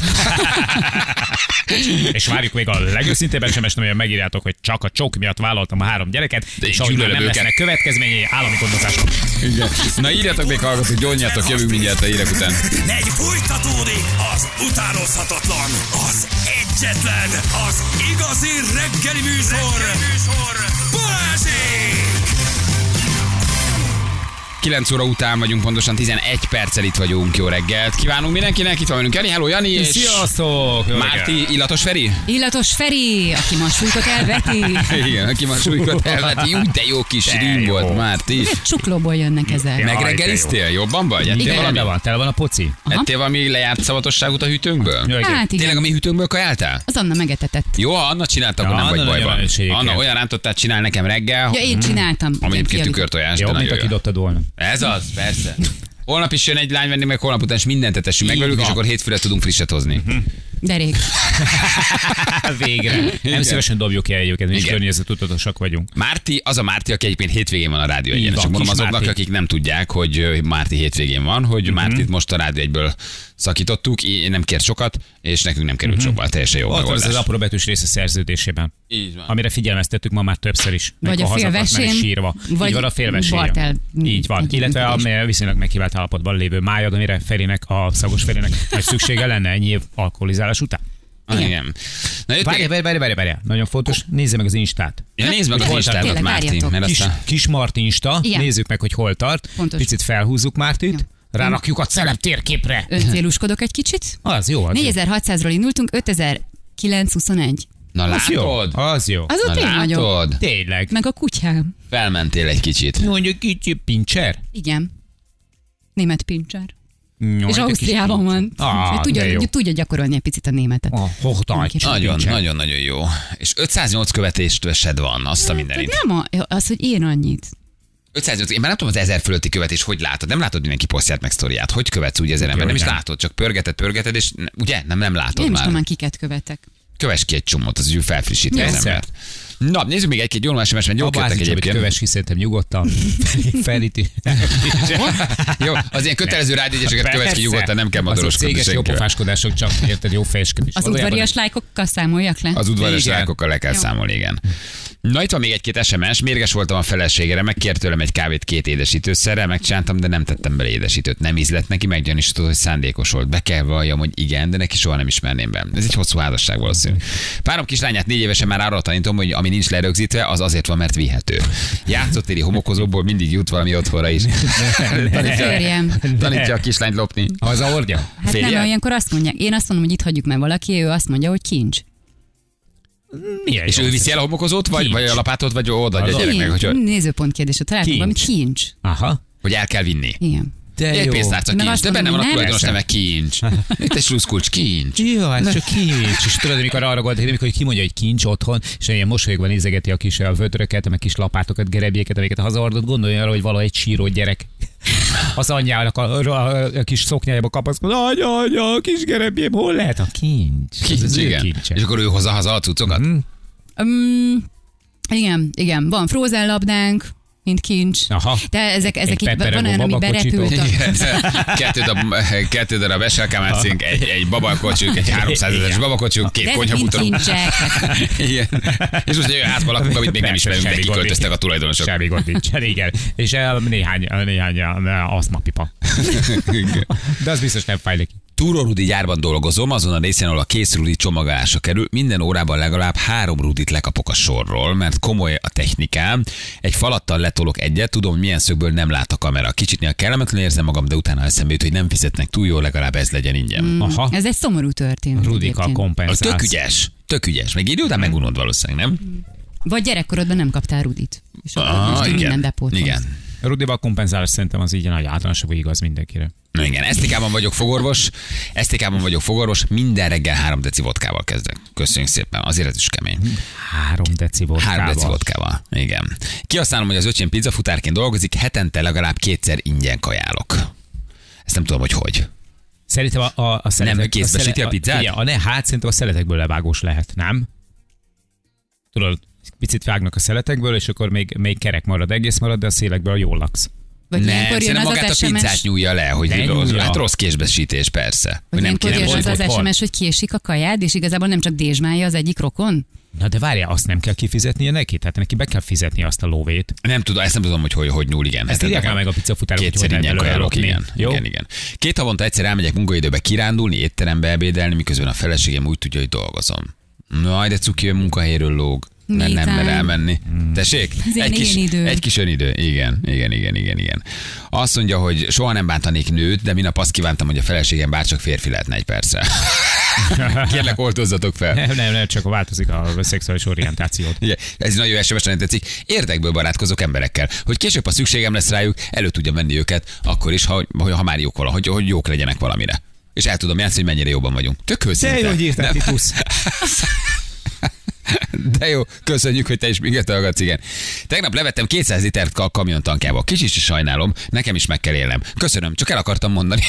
D: És várjuk még a legőszintébben sem estem, hogy megírjátok, hogy csak a csok miatt vállaltam a három gyereket,
A: De
D: és
A: én
D: ahogy már
A: gyűlölöm
D: nem
A: őket.
D: lesznek következményei, állami gondozások.
A: Igen. Na írjatok még hallgatok, gyónjatok, jövünk mindjárt a hírek után.
B: Megy fújtatódik az utánozhatatlan, az egyetlen, az igazi reggeli műsor, reggeli műsor. Balázsék!
A: 9 óra után vagyunk, pontosan 11 perccel itt vagyunk. Jó reggelt! Kívánunk mindenkinek, itt van velünk Jani, hello Jani és
D: Sziasztok! Jó reggelt!
A: Márti, illatos Feri?
E: Illatos Feri, aki ma súlykot elveti.
A: Igen, aki ma súlykot elveti. Úgy, hát de jó kis
D: De
A: rím
D: jó.
A: volt, Márti.
E: Csuklóból jönnek ezek.
A: Megreggeliztél? Jobban vagy? Ettél
E: Igen.
A: valami?
D: Tele van, tele van a poci.
E: Aha.
A: Ettél valami lejárt szavatosságot a hűtőnkből?
D: Jaj, igen.
E: Hát
A: Tényleg a
E: igen,
A: mi hűtőnkből kajáltál?
E: az Anna megetetett.
A: Jó, ha Anna csinálta, akkor
D: Ja,
A: nem vagy
D: Anna nagyon
A: bajban.
D: erősségekért.
A: Anna olyan rántottát csinál nekem reggel,
E: Ja,
D: Mm.
E: én csináltam.
A: ami egyébként
E: Kiavít-
A: tükörtojás, de
D: Jobb, mint
A: nagyon
D: aki
A: jó.
D: dobtad volna.
A: Ez az, persze. Holnap is jön egy lány venni, meg holnap után is mindent etessünk meg
D: Így
A: velük, és
D: van.
A: akkor hétfőre tudunk frisset hozni.
E: Derék.
D: Végre. Nem
A: Hát Igen.
D: szívesen dobjuk el egyébként, mi is
A: Igen.
D: környezetudatosak vagyunk.
A: Márti, az a Márti, aki egyébként hétvégén van a rádió
D: Így
A: egyen.
D: van,
A: Csak mondom
D: kis
A: azoknak,
D: Márti. Mhm.
A: akik nem tudják, hogy ö, Márti hétvégén van, hogy uh-huh. Mártit most a rádió egyből szakítottuk, í- nem kért sokat, és nekünk nem került uh-huh. sokkal, teljesen jó
D: Mhm. Ott van ez
A: megoldás.
D: az apró betűs rész a szerződésében.
A: Így van.
D: Amire figyelmeztettük ma már többször is.
E: Vagy
D: Amikor
E: a
D: hazafadt, meg
E: félvesém,
D: is sírva.
E: vagy
D: Így van a félvesém.
E: Bartel.
D: Így van.
E: Egy-
D: Illetve
E: egy-
D: a viszonylag megkivált állapotban lévő májad, amire Ferinek, a szagos Ferinek nagy szüksége lenne ennyi év alkoholizálás után.
A: Ah, Igen. Na jött
D: Várj,
A: még-
D: várj, várj, várj, várj. Nagyon fontos, nézze meg az Instát.
A: Ja, nézd meg az
D: Hol
A: Instádat,
E: tényleg,
A: Márti,
E: várjatok.
A: mert
D: Kis,
A: aztán...
D: kis Mart Insta,
E: Igen.
D: nézzük meg, hogy hol tart.
E: Pontos.
D: Picit felhúzzuk Mártit, rárakjuk a celeb térképre.
E: Öncélúskodok egy kicsit.
D: Az jó, az jó.
E: 4600-ról indultunk, 5921.
A: Na
D: Az jó.
A: látod?
D: Az jó.
E: Az
A: Na
E: ott én vagyok.
A: látod?
D: Tényleg.
E: Meg a kutyám.
A: Felmentél egy kicsit.
D: Mondjuk kicsi pincser.
E: Igen. Német pincser.
D: Nyom,
E: És Ausztriában van.
D: Ah,
E: Ő
D: de
E: tudja,
D: jó. Ah,
E: tudja gyakorolni egy picit a németet.
D: A hochdeutsch.
E: Mindenképpen.
A: Nagyon,
D: Nincsen.
A: nagyon-nagyon jó. És 508 követésed van, azt a
E: Hát
A: mindenit.
E: nem a, az, hogy én annyit.
A: 508, én már nem tudom az ezer fölötti követés, hogy látod. Nem látod mindenki posztját meg sztoriát. Hogy követsz úgy ezer ember? Nem is
D: nem.
A: látod, csak pörgeted, pörgeted, és ne- ugye? Nem, nem látod
E: Én is
A: már.
E: tudom, már kiket követek.
A: Kövess ki egy csomót, az úgy felfrissíti az
D: Persze.
A: embert. Na, nézzük még egy-két jó más mert jó
D: Abba
A: jöttek
D: Ázics, amit
A: egyébként.
D: Köves, hiszentem nyugodtan. Felíti.
A: Jó, az ilyen kötelező rádiógyeseket követj ki nyugodtan, nem kell
D: Az
A: madaroskodni
D: céges
A: senkivel.
D: jópofáskodások csak, érted, jó fejeskedés.
E: Az
D: Valójában
E: udvarias lájkokkal számoljak le?
A: Az udvaros
D: Igen.
A: rákokkal le kell
E: Jó.
A: számolni, igen. Na itt van még egy-két SMS, mérges voltam a feleségére, megkért tőlem egy kávét két édesítőszerrel, megcsináltam, de nem tettem bele édesítőt. Nem ízlett neki, meggyanúsított, hogy szándékos volt. Be kell valljam, hogy igen, de neki soha nem ismerném be. Ez egy hosszú házasság valószínű. Párom kislányát négy évesen már arra tanítom, hogy ami nincs lerögzítve, az azért van, mert vihető. Játszott éri homokozóból mindig jut valami otthonra is.
E: Férjem.
A: Tanítja a kislányt lopni.
D: Az a orgya.
E: Hát
A: Férjed?
E: nem, mert olyankor azt mondják. Én azt mondom, hogy itt hagyjuk meg valaki, ő azt mondja, hogy kincs.
D: Milyen
A: És
D: jó
A: ő viszi el a homokozót, vagy,
D: Kincs.
A: vagy a lapátot, vagy odaadja a gyereknek,
E: Kincs.
A: hogy,
E: Nézőpont kérdése. Találtam
D: Kincs.
E: valamit, kincs.
D: Aha.
A: hogy el kell vinni.
E: Igen.
D: De
A: Egy
D: jó.
A: pénztárca
E: Meg
A: kincs,
E: azt
A: de benne
E: mondom,
A: van a
E: hogy
A: tulajdonos
E: nem.
A: neve kincs. Itt egy sluszkulcs kincs.
D: Ja, ez csak kincs. És tudod, amikor arra gondolt, amikor kimondja, hogy kincs otthon, és ilyen mosolyogban nézegeti a kis a vödröket, meg kis lapátokat, gerebjéket, amiket hazahordott, gondolja arra, hogy valahogy egy síró gyerek. Az anyjának a, a, a kis szoknyájába kapaszkod, anya, anya, a kis gerebjém, hol lehet a kincs? Ez
A: Kincs,
D: az ő
A: igen.
D: kincse.
A: És akkor ő hozza haza a cuccokat.
E: Um, igen, igen. Van frozen labdánk, mint kincs.
D: Aha.
E: De ezek, ezek így, van
D: peperego
E: olyan, ami
D: babakocsitok.
E: berepült. a-
A: Igen. Kettő, darab, kettő darab eselkámácink, egy, egy babakocsunk, egy 300 ezeres babakocsunk, két
E: De ezek mind
A: konyhabutalunk.
E: kincsek.
A: Igen. És most egy olyan házban lakunk, amit még nem
D: Persze,
A: ismerünk, de
D: semmi gond
A: kiköltöztek a
D: nincs.
A: tulajdonosok.
D: Semmi gond nincs, igen. És eh, néhány, néhány eh, asztmapipa.
A: Igen.
D: De az biztos nem fáj neki.
A: Túrorudi gyárban dolgozom, azon a részen, ahol a kész rudi csomagolásra kerül, minden órában legalább három rudit lekapok a sorról, mert komoly a technikám. Egy falattal letolok egyet, tudom, hogy milyen szögből nem lát a kamera. Kicsit néha kellemetlenül érzem magam, de utána eszembe jut, hogy nem fizetnek túl jól, legalább ez legyen ingyen. Mm.
D: Aha.
E: Ez egy szomorú történet.
D: Rudika
E: egyébként.
A: Az
D: kompenzálsz.
A: tök ügyes, tök ügyes. Meg idő után megunod valószínűleg, nem?
E: Vagy gyerekkorodban nem kaptál Rudit. És akkor
A: Ah,
E: most
A: igen.
E: minden bepótolsz.
A: Igen.
D: Rudival kompenzálás szerintem az így nagy általánosabb, hogy igaz mindenkire.
A: Na igen, esztikában vagyok fogorvos, esztikában vagyok fogorvos, minden reggel három deci vodkával kezdek. Köszönjük szépen, azért ez is kemény.
D: Három deci volt.
A: Három deci vodkával. Igen. Kihasználom, hogy az öcsém pizzafutárként dolgozik, hetente legalább kétszer ingyen kajálok. Ezt nem tudom, hogy hogy.
D: Szerintem a, a, a szeletek,
A: kézbesíti a pizzát?
D: Igen, a ne, hát szerintem a szeletekből levágós lehet, nem? Tudod, picit vágnak a szeletekből, és akkor még, még kerek marad, egész marad, de a szélekből jól laksz.
E: Vagy
A: nem,
E: ilyenkor jön
A: szerintem
E: az
A: magát
E: az
A: a pizzát
E: SMS,
A: nyúlja le, hogy
D: Ne
A: rossz,
D: nyúlja.
A: hát rossz kézbesítés, persze. Hogy
E: vagy
A: nem
E: ilyenkor
A: kéne
E: jön
A: volt
E: az az
A: otthon.
E: SMS, hogy kiesik a kajád, és igazából nem csak dézsmálja az egyik rokon.
D: Na de várjál, azt nem kell kifizetnie neki? Tehát neki be kell fizetni azt a lóvét.
A: Nem tudom, ezt nem tudom, hogy hogy, hogy nyúl, igen.
D: Ezt
A: Hát
D: írják
A: nekem-
D: már meg a pizzafutárok, hogy
A: Kétszer
D: hogy lehet
A: ingyen
D: belőle
A: kajálok,
D: lopni.
A: igen.
D: Jó?
A: igen, igen. Két havonta egyszer elmegyek munkaidőbe kirándulni, étterembe ebédelni, miközben a feleségem úgy tudja, hogy dolgozom. Na, de cuki, ő munkahelyről lóg. Nem, nem mer
E: Nézem.
A: elmenni. Tessék?
E: Ez ilyen
A: egy, kis,
E: idő.
A: egy kis önidő. Igen, igen, igen, igen, igen. Azt mondja, hogy soha nem bántanék nőt, de minap azt kívántam, hogy a feleségem bárcsak férfi lehetne egy percre. Kérlek, oltozzatok fel.
D: Nem, nem, nem, csak változik a szexuális orientációt.
A: Ugye, ez nagyon jó SMS nem tetszik. Érdekből barátkozok emberekkel, hogy később, ha szükségem lesz rájuk, elő tudjam venni őket, akkor is, ha, hogy- ha már jók valahogy, hogy jók legyenek valamire. És el tudom játszani, hogy mennyire jobban vagyunk. Tök őszinte.
D: írtál, Titus.
A: De jó, köszönjük, hogy te is minket hallgatsz, igen. Tegnap levettem 200 litert a kamiontankába. Kicsit is sajnálom, nekem is meg kell élnem. Köszönöm, csak el akartam mondani.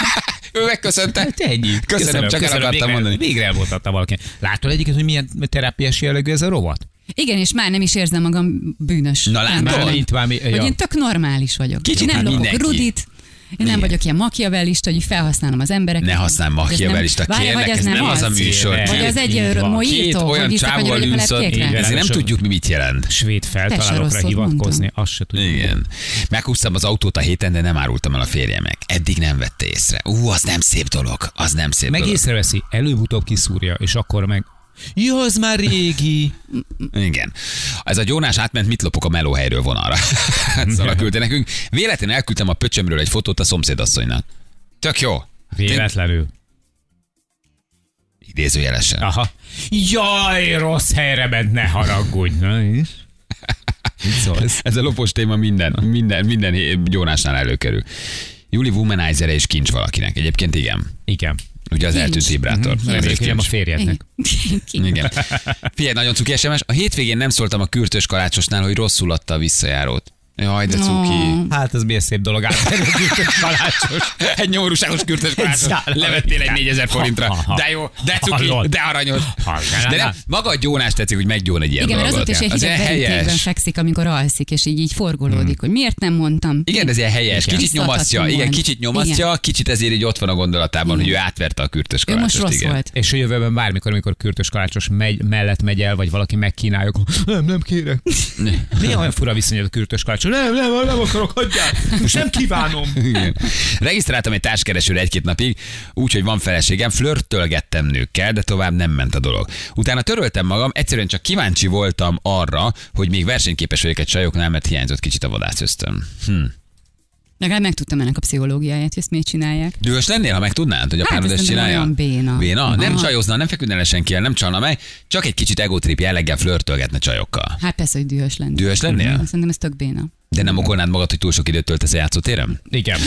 A: Ő megköszönte.
D: Hát ennyi.
A: Köszönöm, csak el akartam
D: végre,
A: mondani.
D: Végre elmondhatta valaki. Látod egyiket, hogy milyen terápiás jellegű ez a rovat?
E: Igen, és már nem is érzem magam bűnös.
A: Na, látod?
E: Nem,
A: Már
E: hogy-
D: itt valami-
E: Hogy
D: ja.
E: én tök normális vagyok.
A: Kicsit
E: Én nem
A: már
E: lopok
A: mindenki.
E: Rudit, én nem
A: Igen.
E: vagyok ilyen makiavellista, hogy felhasználom az embereket.
A: Ne használj
E: Hogy ez nem-
A: machiavellista,
E: Várj,
A: kérlek,
E: vagy
A: ez nem az a műsor.
E: Vagy az egy
D: Így van.
A: Két
E: mojító, hogy
A: olyan csávóval
E: visszakanyarodik a
A: ülsz ott,
E: lepkékre.
D: így van.
A: ezért nem
D: Sok-
A: tudjuk, mi mit jelent.
D: Svéd
E: rosszat
D: feltalálókra
E: mondtam.
D: hivatkozni, azt se tudjuk.
A: Igen. Meghúztam az autót a héten, de nem árultam el a férjemnek. Eddig nem vette észre. Ú, az nem szép dolog. Az nem szép
D: Meg
A: dolog.
D: észreveszi, előbb-utóbb kiszúrja, és akkor meg... Jó, az már régi.
A: Igen. Ez a gyónás átment, mit lopok a melóhelyről vonalra. szóval küldte nekünk. Véletlenül elküldtem a pöcsömről egy fotót a szomszédasszonynak. Tök jó.
D: Véletlenül.
A: Tén- Idézőjelesen.
D: Aha. Jaj, rossz helyre ment, ne haragudj. Na és? Mit szólsz?
A: Ez a lopos téma minden, minden, minden hé- gyónásnál előkerül. Juli womanizer is kincs valakinek. Egyébként igen.
D: Igen.
A: Ugye az eltűnt vibrátor.
D: Nem
A: Ez egy
D: a
A: kincs.
D: férjednek.
E: Igen.
A: Igen. Figyelj, nagyon cuki SMS. A hétvégén nem szóltam a kürtös kalácsosnál, hogy rosszul adta a visszajárót. Jaj, de cuki.
E: Ó.
D: Hát ez milyen szép dolog át. Kalácsos.
A: Egy nyomorúságos kürtös kalácsot
D: Egy
A: levettél egy
D: szállam.
A: 4000 forintra.
D: Ha, ha.
A: De jó, de cuki,
D: Hallod?
A: de aranyos.
D: Hallod?
A: De nem, maga a gyónás tetszik, hogy meggyón egy ilyen
E: Igen, mert
A: dolgot.
E: azóta is egy
A: Az
E: hideg
A: ilyen
E: verítékben
A: helyes. Hmm.
E: fekszik, amikor alszik, és így, így forgolódik, hogy miért nem mondtam.
A: Igen, de ez ilyen helyes.
E: Igen.
A: Kicsit nyomasztja.
E: Visszathatóan.
A: Igen, kicsit nyomasztja, kicsit ezért így ott van a gondolatában, hogy ő átverte a kürtös
E: Ő most
A: kalácsost,
E: rossz
A: igen.
E: volt.
D: És a jövőben bármikor, amikor kürtös kalácsos megy, mellett megy el, vagy valaki megkínálja, akkor nem, nem kérek. Néha olyan fura viszony a kürtös kalácsos. Nem, nem, nem akarok, hagyjál. Most nem kívánom.
A: Igen. Regisztráltam egy társkeresőre egy-két napig, úgyhogy van feleségem, flörtölgettem nőkkel, de tovább nem ment a dolog. Utána töröltem magam, egyszerűen csak kíváncsi voltam arra, hogy még versenyképes vagyok egy csajoknál, mert hiányzott kicsit a vadász ösztön. Hm.
E: Legalább megtudtam ennek a pszichológiáját, hogy ezt miért csinálják.
A: Dühös lennél, ha megtudnád, hogy a
E: Hát,
A: párod
E: ez
A: ezt
E: nem
A: csinálja?
E: olyan béna.
A: Béna?
E: Aha.
A: Nem csajozna, nem feküdne le senki el, nem csalna meg, csak egy kicsit egotrip jelleggel flörtölgetne csajokkal.
E: Hát persze, hogy dühös lennél.
A: Dühös lennél?
E: Mhm. Szerintem ez tök béna.
A: De nem okolnád magad, hogy túl sok időt töltesz a játszótéren?
D: Igen.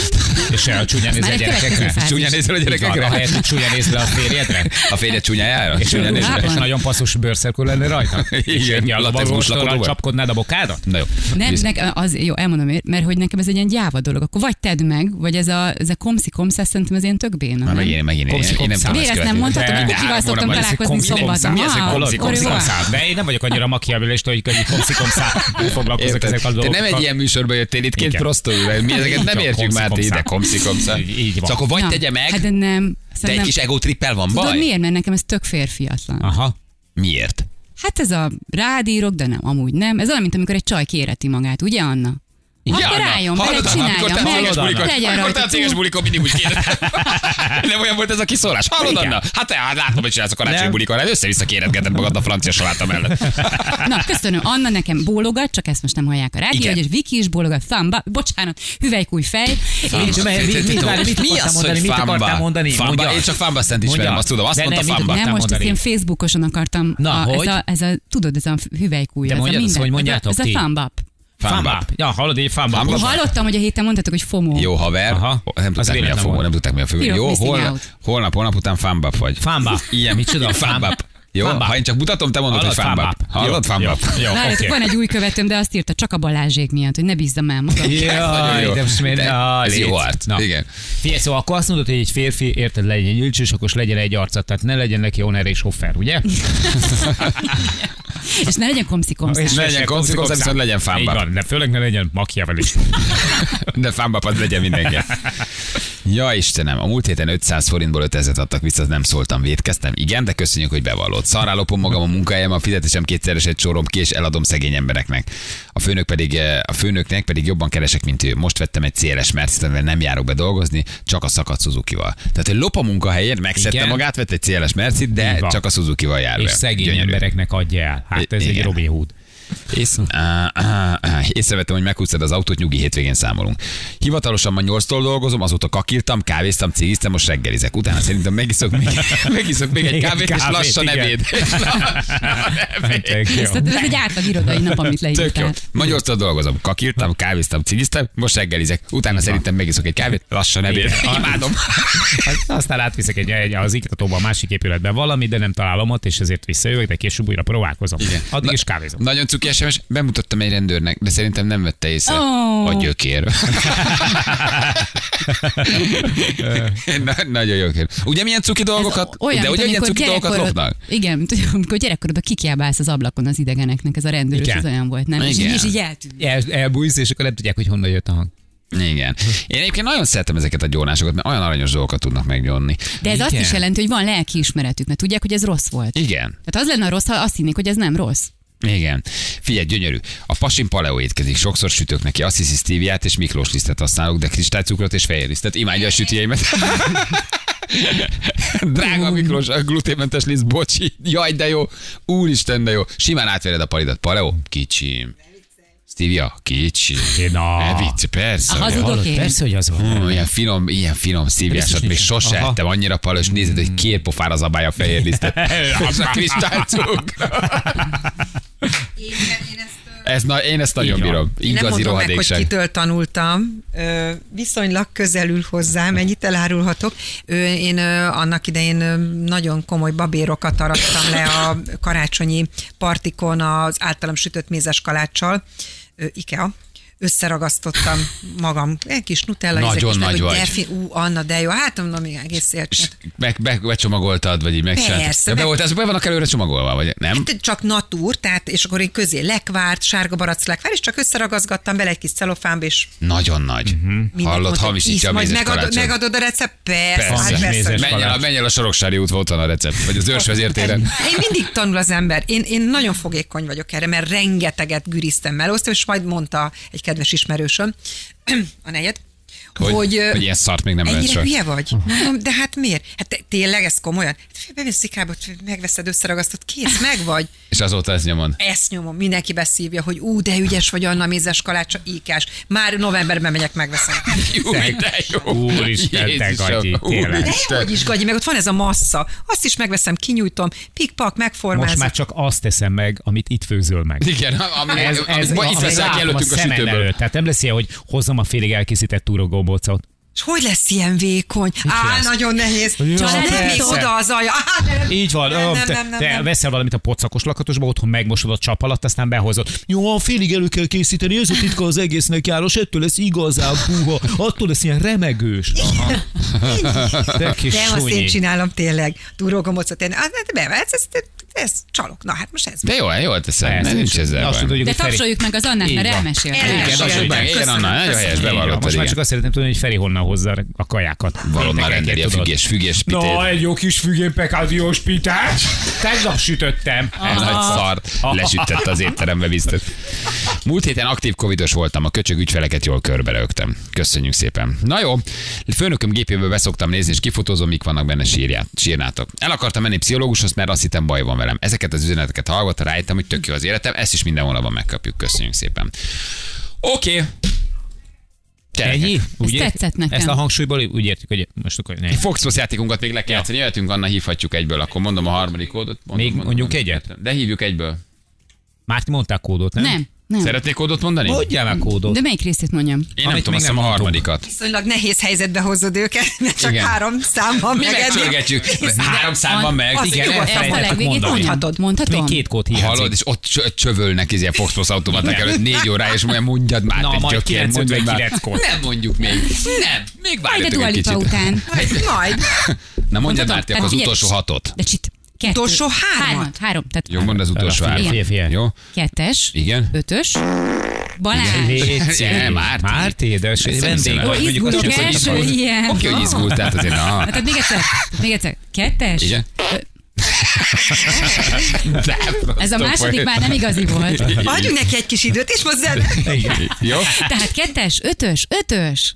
D: És a csúnyán nézel
E: már
D: a
E: egy következő
D: gyerekekre.
E: fázis.
A: Csúnyán nézel a
D: Gyerekekre.
A: gyerekekre?
D: Ahelyett, hogy csúnyán nézel a férjedre.
A: A férjed csúnyájára?
D: És,
A: Csúnyán nézel?
E: Á,
D: és nagyon passzos bőrszerkó lenne rajta. És
A: hát Igen,
D: egy
A: latexbus
D: alapagostorral
A: lakodóval.
D: csapkodnád a bokádat?
A: Na jó.
E: Nem,
A: Visz-
E: ne, az, jó, elmondom, miért, mert hogy nekem ez egy ilyen gyáva dolog. Akkor vagy tedd meg, vagy ez a, ez a komszi komsza, szerintem ez ilyen tök béna.
A: Már
E: nem?
A: megint, megint, én, én,
D: Komszi,
A: én nem
D: komszá.
A: tudom
E: Miért
A: ezt
E: ezt nem
A: követni.
E: mondtad,
D: De-
E: hogy
A: de
E: kukival
A: három
E: szoktam
A: hónapban
D: Komszi
E: találkozni
D: komszá.
E: szombaton?
D: Mi ez
E: Ah,
D: a komszi
E: akkor
D: komszi
E: jó.
D: komszá? De én nem vagyok annyira makiabilista, hogy egy komszi komszá foglalkozok
A: Érted?
D: ezek a
A: Te
D: dolgokkal.
A: nem egy ilyen műsorba jöttél itt két
D: Igen.
A: prostolúra, mi ezeket nem
D: Így van,
A: értjük már, te
D: komszi-komszá.
A: ide komszikomszá.
D: Így- így
A: Csak
D: van.
A: Szóval akkor vagy
E: Na,
A: tegye
E: Hát
A: meg,
E: de nem.
A: de egy
E: Szerintem-
A: kis egótrippel van
E: Tudod
A: baj?
E: miért? Mert nekem ez tök férfiatlan.
D: Aha.
A: Miért?
E: Hát ez a rádírok, de nem, amúgy nem. Ez olyan, mint amikor egy csaj kéreti magát, ugye Anna? Akkor
A: Anna,
E: álljon bele,
A: hallod, Anna,
E: csinálja
A: Amikor te a
E: meg,
A: céges bulikon,
E: legyen
A: amikor te
E: rajta
A: a céges
E: túl.
A: bulikon mindig úgy kérdez. Nem olyan volt ez a kiszólás. Hallod,
D: Igen.
A: Anna? Hát te, hát látom, hogy csinálsz a karácsonyi
D: Nem.
A: bulikon, hát össze-vissza kéredgeted magad a francia saláta mellett.
E: Na, köszönöm. Anna nekem bólogat, csak ezt most nem hallják a rádió,
A: Igen.
E: hogy és Viki is bólogat, famba, bocsánat, hüvelykúj fej.
A: Famba.
E: És
D: És mert mi-
A: Te- te-
D: mit-
A: te-
D: várj, mit
A: mi
D: akartál
A: az, hogy
D: mondani? Mit
A: famba?
D: akartál mondani?
A: Famba?
D: Mondjad.
A: Én csak famba szent ismerem,
D: Mondjad.
A: azt tudom, azt
D: De
A: mondta
D: nem, mit
A: famba.
E: nem,
D: akartál
E: most ezt
D: mondani?
E: én Facebookoson akartam.
D: Na,
E: a,
D: hogy?
E: Ez a, ez a, tudod, ez a hüvelykúj.
D: De
E: ez a
D: mondjad azt,
E: minden,
D: hogy mondjátok
E: Ez a, ez
D: ti.
E: a thumb up.
A: Famba.
D: Fámbap. Ja, hallod, én
A: Famba.
D: fámbap.
A: Most-
E: Hallottam, hogy a héten mondtátok, hogy FOMO.
A: Jó haver,
D: Aha.
A: nem
D: Az
A: tudták mi a
D: véletlen
A: fogó,
D: volt.
A: nem tudták mi a fogó.
E: Fear of
A: Jó,
E: missing
A: holnap,
E: out.
A: holnap, holnap után fámbap vagy.
D: Fámbap.
A: Ilyen,
D: Micsoda?
A: Fámbap. Jó,
D: Fámbap.
A: ha én csak mutatom, te mondod, hogy fámbap. Hallod, fámbap?
D: Jó,
E: Várjátok,
D: oké.
E: van egy új követőm, de azt írta csak a Balázsék miatt, hogy ne bízzam el magam.
A: Nagyon jó.
D: Jaj, de most miért?
A: De
D: Jaj,
A: ez jó
D: légy.
A: arc.
D: Na.
A: Igen.
D: Figyelj, szóval akkor azt mondod, hogy egy férfi, érted, legyen egy ülcsös, akkor legyen egy arca, tehát ne legyen neki Oner és Hoffer, ugye?
E: És ne legyen komszi
D: És
E: komszás.
A: legyen komszi, komszi, viszont legyen fámbap.
D: Így van, de főleg ne legyen makiavelista.
A: De fámbap az legyen mindenki. Ja Istenem, a múlt héten 500 forintból 5000 adtak vissza, nem szóltam, védkeztem. Igen, de köszönjük, hogy bevallod. Szarrá lopom magam a munkahelyem, a fizetésem kétszeres egy sorom ki, és eladom szegény embereknek. A, főnök pedig, eh, a főnöknek pedig jobban keresek, mint ő. Most vettem egy CLS mercedes amivel nem járok be dolgozni, csak a szakadt Suzuki-val. Tehát, hogy lop a munkahelyén, megszedte
D: Igen.
A: magát, vett egy CLS mercit, de
D: Így van.
A: csak a Suzuki-val jár
D: És
A: be.
D: szegény
A: Gyönyörű.
D: embereknek adja el. Hát ez
A: I- igen.
D: egy Robin Hood.
A: Ész... Á, á, á. Észrevettem, hogy meghúztad az autót, nyugi hétvégén számolunk. Hivatalosan ma 8-tól dolgozom, azóta kakírtam, kávéztam, cigiztem, most reggelizek. Utána szerintem megiszok még, megiszok még egy
D: Még egy
A: kávét, és
D: kávét,
A: lassan
D: igen.
A: ebéd. És
D: Hát,
A: lassan ebéd.
D: Tök jó.
E: Ez, ez egy átlag irodai nap, amit
A: Tök jó.
E: leírtál.
A: Ma 8-tól dolgozom, kakírtam, kávéztam, cigiztem, most reggelizek. Utána szerintem megiszok egy kávét, lassan ebéd.
D: Igen.
A: Imádom.
D: Hát, Aztán átviszek egy, egy az iktatóban, a másik épületben valami, de nem találom ott, és ezért visszajövök, de később újra próbálkozom. Igen. Addig
A: Na-
D: is kávézom.
A: Nagyon cuki SMS, bemutattam egy rendőrnek, de szerintem nem vette észre.
E: Ó.
A: A gyökér. Na, nagyon jó kér. Ugye milyen cuki dolgokat,
E: Olyan,
A: de
E: mint
A: ugye milyen
E: amikor
A: cuki dolgokat
E: gyerekkorod-
A: lopnak?
E: Igen, mint olyan, amikor gyerekkorodban kikiabálsz az ablakon az idegeneknek, ez a rendőr,
D: Igen.
E: ez olyan volt, nem? És így,
A: Igen.
E: és így eltűnt.
D: El, elbújsz, és akkor nem tudják, hogy honnan jött a hang.
A: Igen. Én egyébként nagyon szeretem ezeket a gyónásokat, mert olyan aranyos dolgokat tudnak meggyónni.
E: De ez azt
D: Igen.
E: is jelenti, hogy van lelkiismeretük, mert tudják, hogy ez rossz volt.
A: Igen.
E: Tehát az lenne a rossz, ha azt hinnék, hogy ez nem rossz.
A: Igen. Figyelj, gyönyörű. A pasin paleo étkezik, sokszor sütök neki. Azt hiszi stíviát és miklós lisztet használok, de kristálycukrot és fehérlisztet. Imádja a sütjeimet. Drága Miklós, a gluténmentes liszt, bocsi. Jaj, de jó. Úristen, de jó. Simán átvered a palidat. Paleo? Kicsi. Stevia? Kicsi.
D: Na.
A: Ne vicc, persze.
E: A hazudok
D: Hallod,
E: én.
D: persze, hogy az van.
A: Hú, ilyen finom, ilyen finom szívjásat még
D: nincs.
A: sose
D: Aha.
A: ettem, annyira paleo, és nézed, hogy két pofára zabálja a fehér lisztet. Az a kristálycukr. Ez, na, én ezt nagyon
D: Így van.
A: bírom.
F: Én nem
A: Igazi
F: mondom meg, hogy
A: rohadékság.
F: kitől tanultam. Ö, Viszonylag közelül hozzám, ennyit elárulhatok. Ö, Én ö, annak idején ö, nagyon komoly babérokat arattam le a karácsonyi partikon az általam sütött mézes kaláccsal, Ö, IKEA összeragasztottam magam. Egy kis nutella,
A: Nagyon
F: ízek, és meg,
A: nagy
F: hogy
A: vagy.
F: Defi, ú, Anna, de jó. Hát mondom, igen, egész
A: És
F: értett.
A: meg, meg, becsomagoltad, vagy így megcsináltad?
F: Persze,
A: Ja, be
F: be-
A: volt, azok be vannak előre csomagolva, vagy nem?
F: Hát csak natúr, tehát, és akkor én közé lekvárt, sárga barack lekvárt, és csak összeragazgattam bele egy kis celofánba, és
A: Nagyon nagy.
D: Mhm.
F: mindent
A: Hallod,
F: mondtam,
A: hamisítja
F: íz,
A: a
F: majd
A: mézes
F: megadod,
A: kalácsot.
F: megadod a recept? Persze,
A: Persze.
F: persze. Hát persze.
D: Mézes
F: hogy-
A: Menj el, a- menj el a Soroksári útba, ott van a recept, vagy az őrsvezértéren.
F: Én mindig tanul az ember. Én, én nagyon fogékony vagyok erre, mert rengeteget güriztem, melóztam, és majd mondta egy kedves ismerősöm, a negyed,
A: Hogy-
F: hogy, hogy, ö,
A: hogy ilyen szart még nem
F: ennyire
A: lehet csak. Uh-huh.
F: hülye vagy? Mondom, de hát miért? Hát te, tényleg ez komolyan? Hát bemész szikába, megveszed, összeragasztod, kész, meg vagy.
A: És azóta ezt nyomon.
F: Ezt nyomom, mindenki beszívja, hogy ú, de ügyes vagy Anna Mézes Kalácsa, íkás. Már novemberben megyek, megveszem.
A: Jó, de jó.
D: Úristen, te
A: Jézusom,
D: Gagyi, tényleg.
A: úristen.
F: Hogy is, Gagyi, meg ott van ez a massza. Azt is megveszem, kinyújtom, pikpak, megformázom.
D: Most már csak azt teszem meg, amit itt főzöl meg.
A: Igen, ami, ez, ez, ami, itt
D: amit
A: veszek
D: látom
A: előttünk a,
D: szemem
A: sütőből.
D: előtt. Tehát nem lesz ilyen, hogy hozzam a félig elkészített túrogóbócot.
F: És hogy lesz ilyen vékony? Á,
D: lesz?
F: nagyon nehéz.
D: Ja,
F: Csak nem
D: hát persze.
F: még oda az alja. Á, nem.
D: Így van,
F: Nem,
D: öm,
F: nem,
D: te,
F: nem, nem,
D: te
F: nem.
D: veszel valamit a pocakos lakatosba, otthon megmosod a csap alatt, aztán behozod. Jó, a félig elő kell készíteni, ez a titka az egésznek járos, ettől lesz igazán puha, attól lesz ilyen remegős. Te kis
F: Nem, azt én
D: sunyi.
F: csinálom tényleg. Túrógomocot. Én, ah, de bevetsz, ez, ez, ez csalok. Na hát most ez.
A: De jó, jól teszem,
D: Persze,
A: nem nincs ezzel
D: Azt
A: baj.
D: tudod,
E: De
D: hogy Feri-
E: tapsoljuk meg az Annát,
D: Így
E: mert
D: van.
E: elmesélte.
F: Igen,
A: Igen,
F: Köszönöm.
A: tapsolj meg, igen, Anna, nagyon helyes,
F: Köszönöm.
A: bevallottad,
D: Most már csak
A: igen.
D: azt szeretném tudni, hogy Feri honnan hozza a kajákat.
A: Valonnan
D: Rétegeket,
A: rendeli a
D: tudod?
A: függés, függés pitét.
D: egy jó kis fügépekádiós pitát. Tegnap sütöttem.
A: Ez nagy szart lesütött az étterembe biztos. Múlt héten aktív covidos voltam, a köcsög ügyfeleket jól körberögtem. Köszönjük szépen. Na jó, főnököm gépéből beszoktam nézni, és kifotózom, mik vannak benne sírját, sírnátok. El akartam menni pszichológushoz, mert azt hittem baj van velem. Ezeket az üzeneteket hallgatva rájöttem, hogy tök jó az életem, ezt is mindenhol van megkapjuk. Köszönjük szépen. Oké. Okay.
D: Ennyi? Úgy
E: Ez
D: ért-
E: tetszett nekem.
D: Ezt a hangsúlyból úgy értjük, hogy most akkor ne.
A: Foxbox játékunkat még le kell játszani, jöhetünk, Anna, hívhatjuk egyből, akkor mondom a harmadik kódot. Mondom,
D: Még
A: mondom,
D: mondjuk
A: mondom.
D: egyet?
A: De hívjuk egyből.
D: Már ti mondták kódot, nem?
E: Nem, nem.
A: Szeretnék kódot mondani?
D: Mondjál már kódot.
E: De melyik részét mondjam?
A: Én nem
D: Amit
A: tudom,
D: még
A: azt hiszem a
D: nem mondtunk.
A: harmadikat.
F: Viszonylag nehéz helyzetbe hozod őket, mert csak
A: Igen.
F: három szám van
A: Mi
F: meg.
A: megcsörgetjük. Három számban meg.
F: az
A: Igen,
F: jó.
A: el-
E: Ezt a
D: elfelejtettek
E: legvégét
D: mondani.
E: mondhatod. Mondhatom?
D: Még két kód hiányzik.
A: Hallod, és ott csö- csövölnek izé a Foxbox automaták előtt négy órája, és mondja, mondjad már,
D: Na,
A: te
D: majd
A: gyökér, mondjad már.
D: 959 kód.
A: Nem mondjuk még. Nem, még
E: Majd a
A: várjatok
E: Dua
A: egy
E: Lipa
A: kicsit.
E: után.
F: Majd.
A: Na mondjad
E: Mondhatom?
A: már, te akkor
E: Hát
A: az
E: figyelj,
A: utolsó hatot.
E: De csit. Kettő.
F: Utolsó hármat?
E: Hármat. Három. Tehát
A: Jó, mondd az utolsó
D: Figyelj,
A: három.
E: figyelj,
D: figyelj.
A: Jó?
E: Kettes.
A: Igen?
E: Ötös. Balázs.
D: Léci.
A: Igen, Márti.
D: Márti,
A: Ezt
D: édes,
A: nem
D: vendég
A: hiszem el.
D: vagy, mondjuk azt
E: Izgulok
D: csak, hogy
E: első
D: hallod.
E: ilyen.
A: Oké, hogy izgult, tehát azért na.
E: Hát tehát még egyszer, még egyszer. Kettes?
A: Igen?
E: Ö,
A: De,
E: Ez a második már nem igazi volt.
F: Adjunk neki egy kis időt, és most zen.
A: Jó?
E: Tehát kettes, ötös, ötös.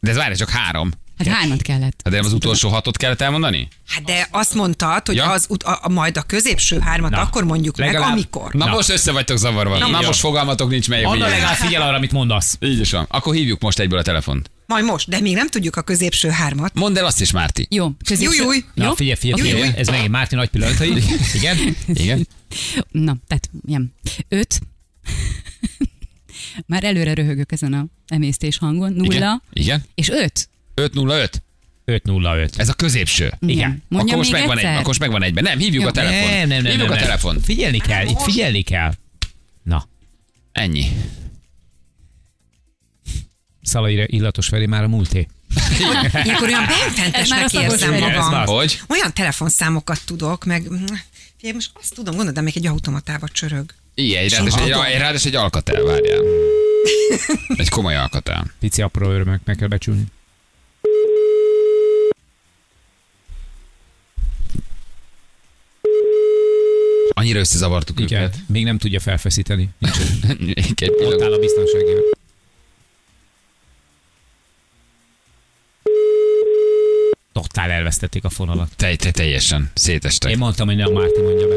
A: De ez várj, csak három.
E: Hát hármat kellett.
A: Hát de nem az utolsó hatot kellett elmondani?
F: Hát de azt mondtad, hogy
A: Ja.
F: az, ut- a, a, majd a középső hármat
D: Na,
F: akkor mondjuk meg,
D: legalább-
F: amikor.
A: Na, most össze vagytok zavarva. Na,
D: van.
A: most fogalmatok nincs, melyik
D: Anna
A: milyen.
D: legalább figyel arra, amit mondasz.
A: Így is van. Akkor hívjuk most egyből a telefont.
F: Majd most, de még nem tudjuk a középső hármat.
A: Mondd el azt is, Márti.
E: Jó, középső.
F: Júj, júj.
D: Na,
E: Jó?
D: figyelj, figyelj,
E: Oké.
D: figyelj. Ez megint Márti nagy pillanatai. Igen?
A: Igen.
E: Na, tehát nem. Öt. Már előre röhögök ezen a emésztés hangon. Nulla.
A: Igen. Igen.
E: És öt.
A: 505.
D: 505.
A: Ez a középső.
D: Igen.
E: Mondjam
A: akkor most
E: még
A: megvan
E: egyszer?
A: egy, akkor most megvan egyben. Nem, hívjuk
E: Jó.
A: a telefon.
D: Nem, nem, nem.
A: hívjuk
D: nem,
A: a
D: nem.
A: telefon.
D: Figyelni kell, itt figyelni kell. Na,
A: Ennyi.
D: Szalaira illatos Feri már a múlté.
F: Ilyenkor olyan
E: Ez már a
F: benfentesnek
E: szagos
F: érzem
E: fegyver.
D: Ez már
F: magam.
D: Azt.
A: Hogy?
F: Olyan telefonszámokat tudok, meg... hm, Figyelj, most azt tudom, gondolod, még egy automatába csörög.
A: Igen, egy ráadásul egy, egy, ráadásul egy alkatel, várjál. Egy komoly alkatel.
D: Pici apró örömök meg kell becsülni.
A: Annyira összezavartuk
D: Igen,
A: őket.
D: még nem tudja felfeszíteni. Nincs
A: Egy
D: Ott
A: pillanat.
D: áll a biztonságével. Totál elvesztették a fonalat.
A: Te, te, teljesen szétestek.
D: Én mondtam, hogy ne a Márti mondja be.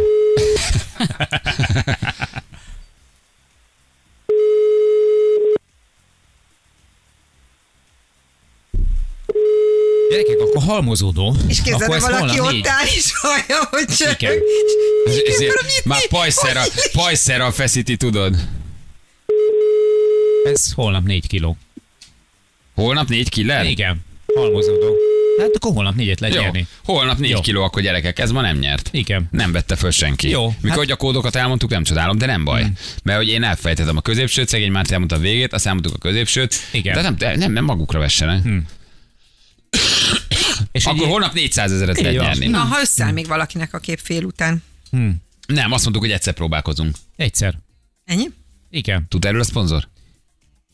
D: Gyerekek, akkor halmozódó.
F: És képzeld,
D: akkor
F: ha
D: ez
F: valaki
D: holnap
F: ott
D: négy.
F: áll és hallja, hogy csörög.
D: Igen.
A: Ez-
F: Igen,
A: ezért
F: akkor mit-
A: Már
F: mi-
A: pajszerra,
F: hogy-
A: pajszerra feszíti, tudod.
D: Ez holnap négy kiló.
A: Holnap négy killer?
D: Igen, halmozódó. Hát akkor holnap négyet lehet
A: Jó.
D: nyerni.
A: Holnap 4
D: Jó.
A: kiló, akkor gyerekek, ez ma nem nyert.
D: Igen.
A: Nem vette föl senki.
D: Jó,
A: Mikor
D: hát- Mm.
A: hogy a kódokat elmondtuk, nem csodálom, de nem baj. Mert hogy én elfejtettem a középsőt, szegény már elmondta a végét, azt elmondtuk a középsőt.
D: Igen.
A: De
D: Mm.
A: nem, de nem, nem magukra vessenek. Hmm.
D: És
A: Akkor
D: így-
A: holnap 400 ezeret lehet
D: Így van.
A: nyerni.
F: Na, ha összeáll még valakinek a kép fél után.
A: Nem, azt mondtuk, hogy egyszer próbálkozunk.
D: Egyszer.
F: Ennyi?
D: Igen.
A: Tud erről a szponzor?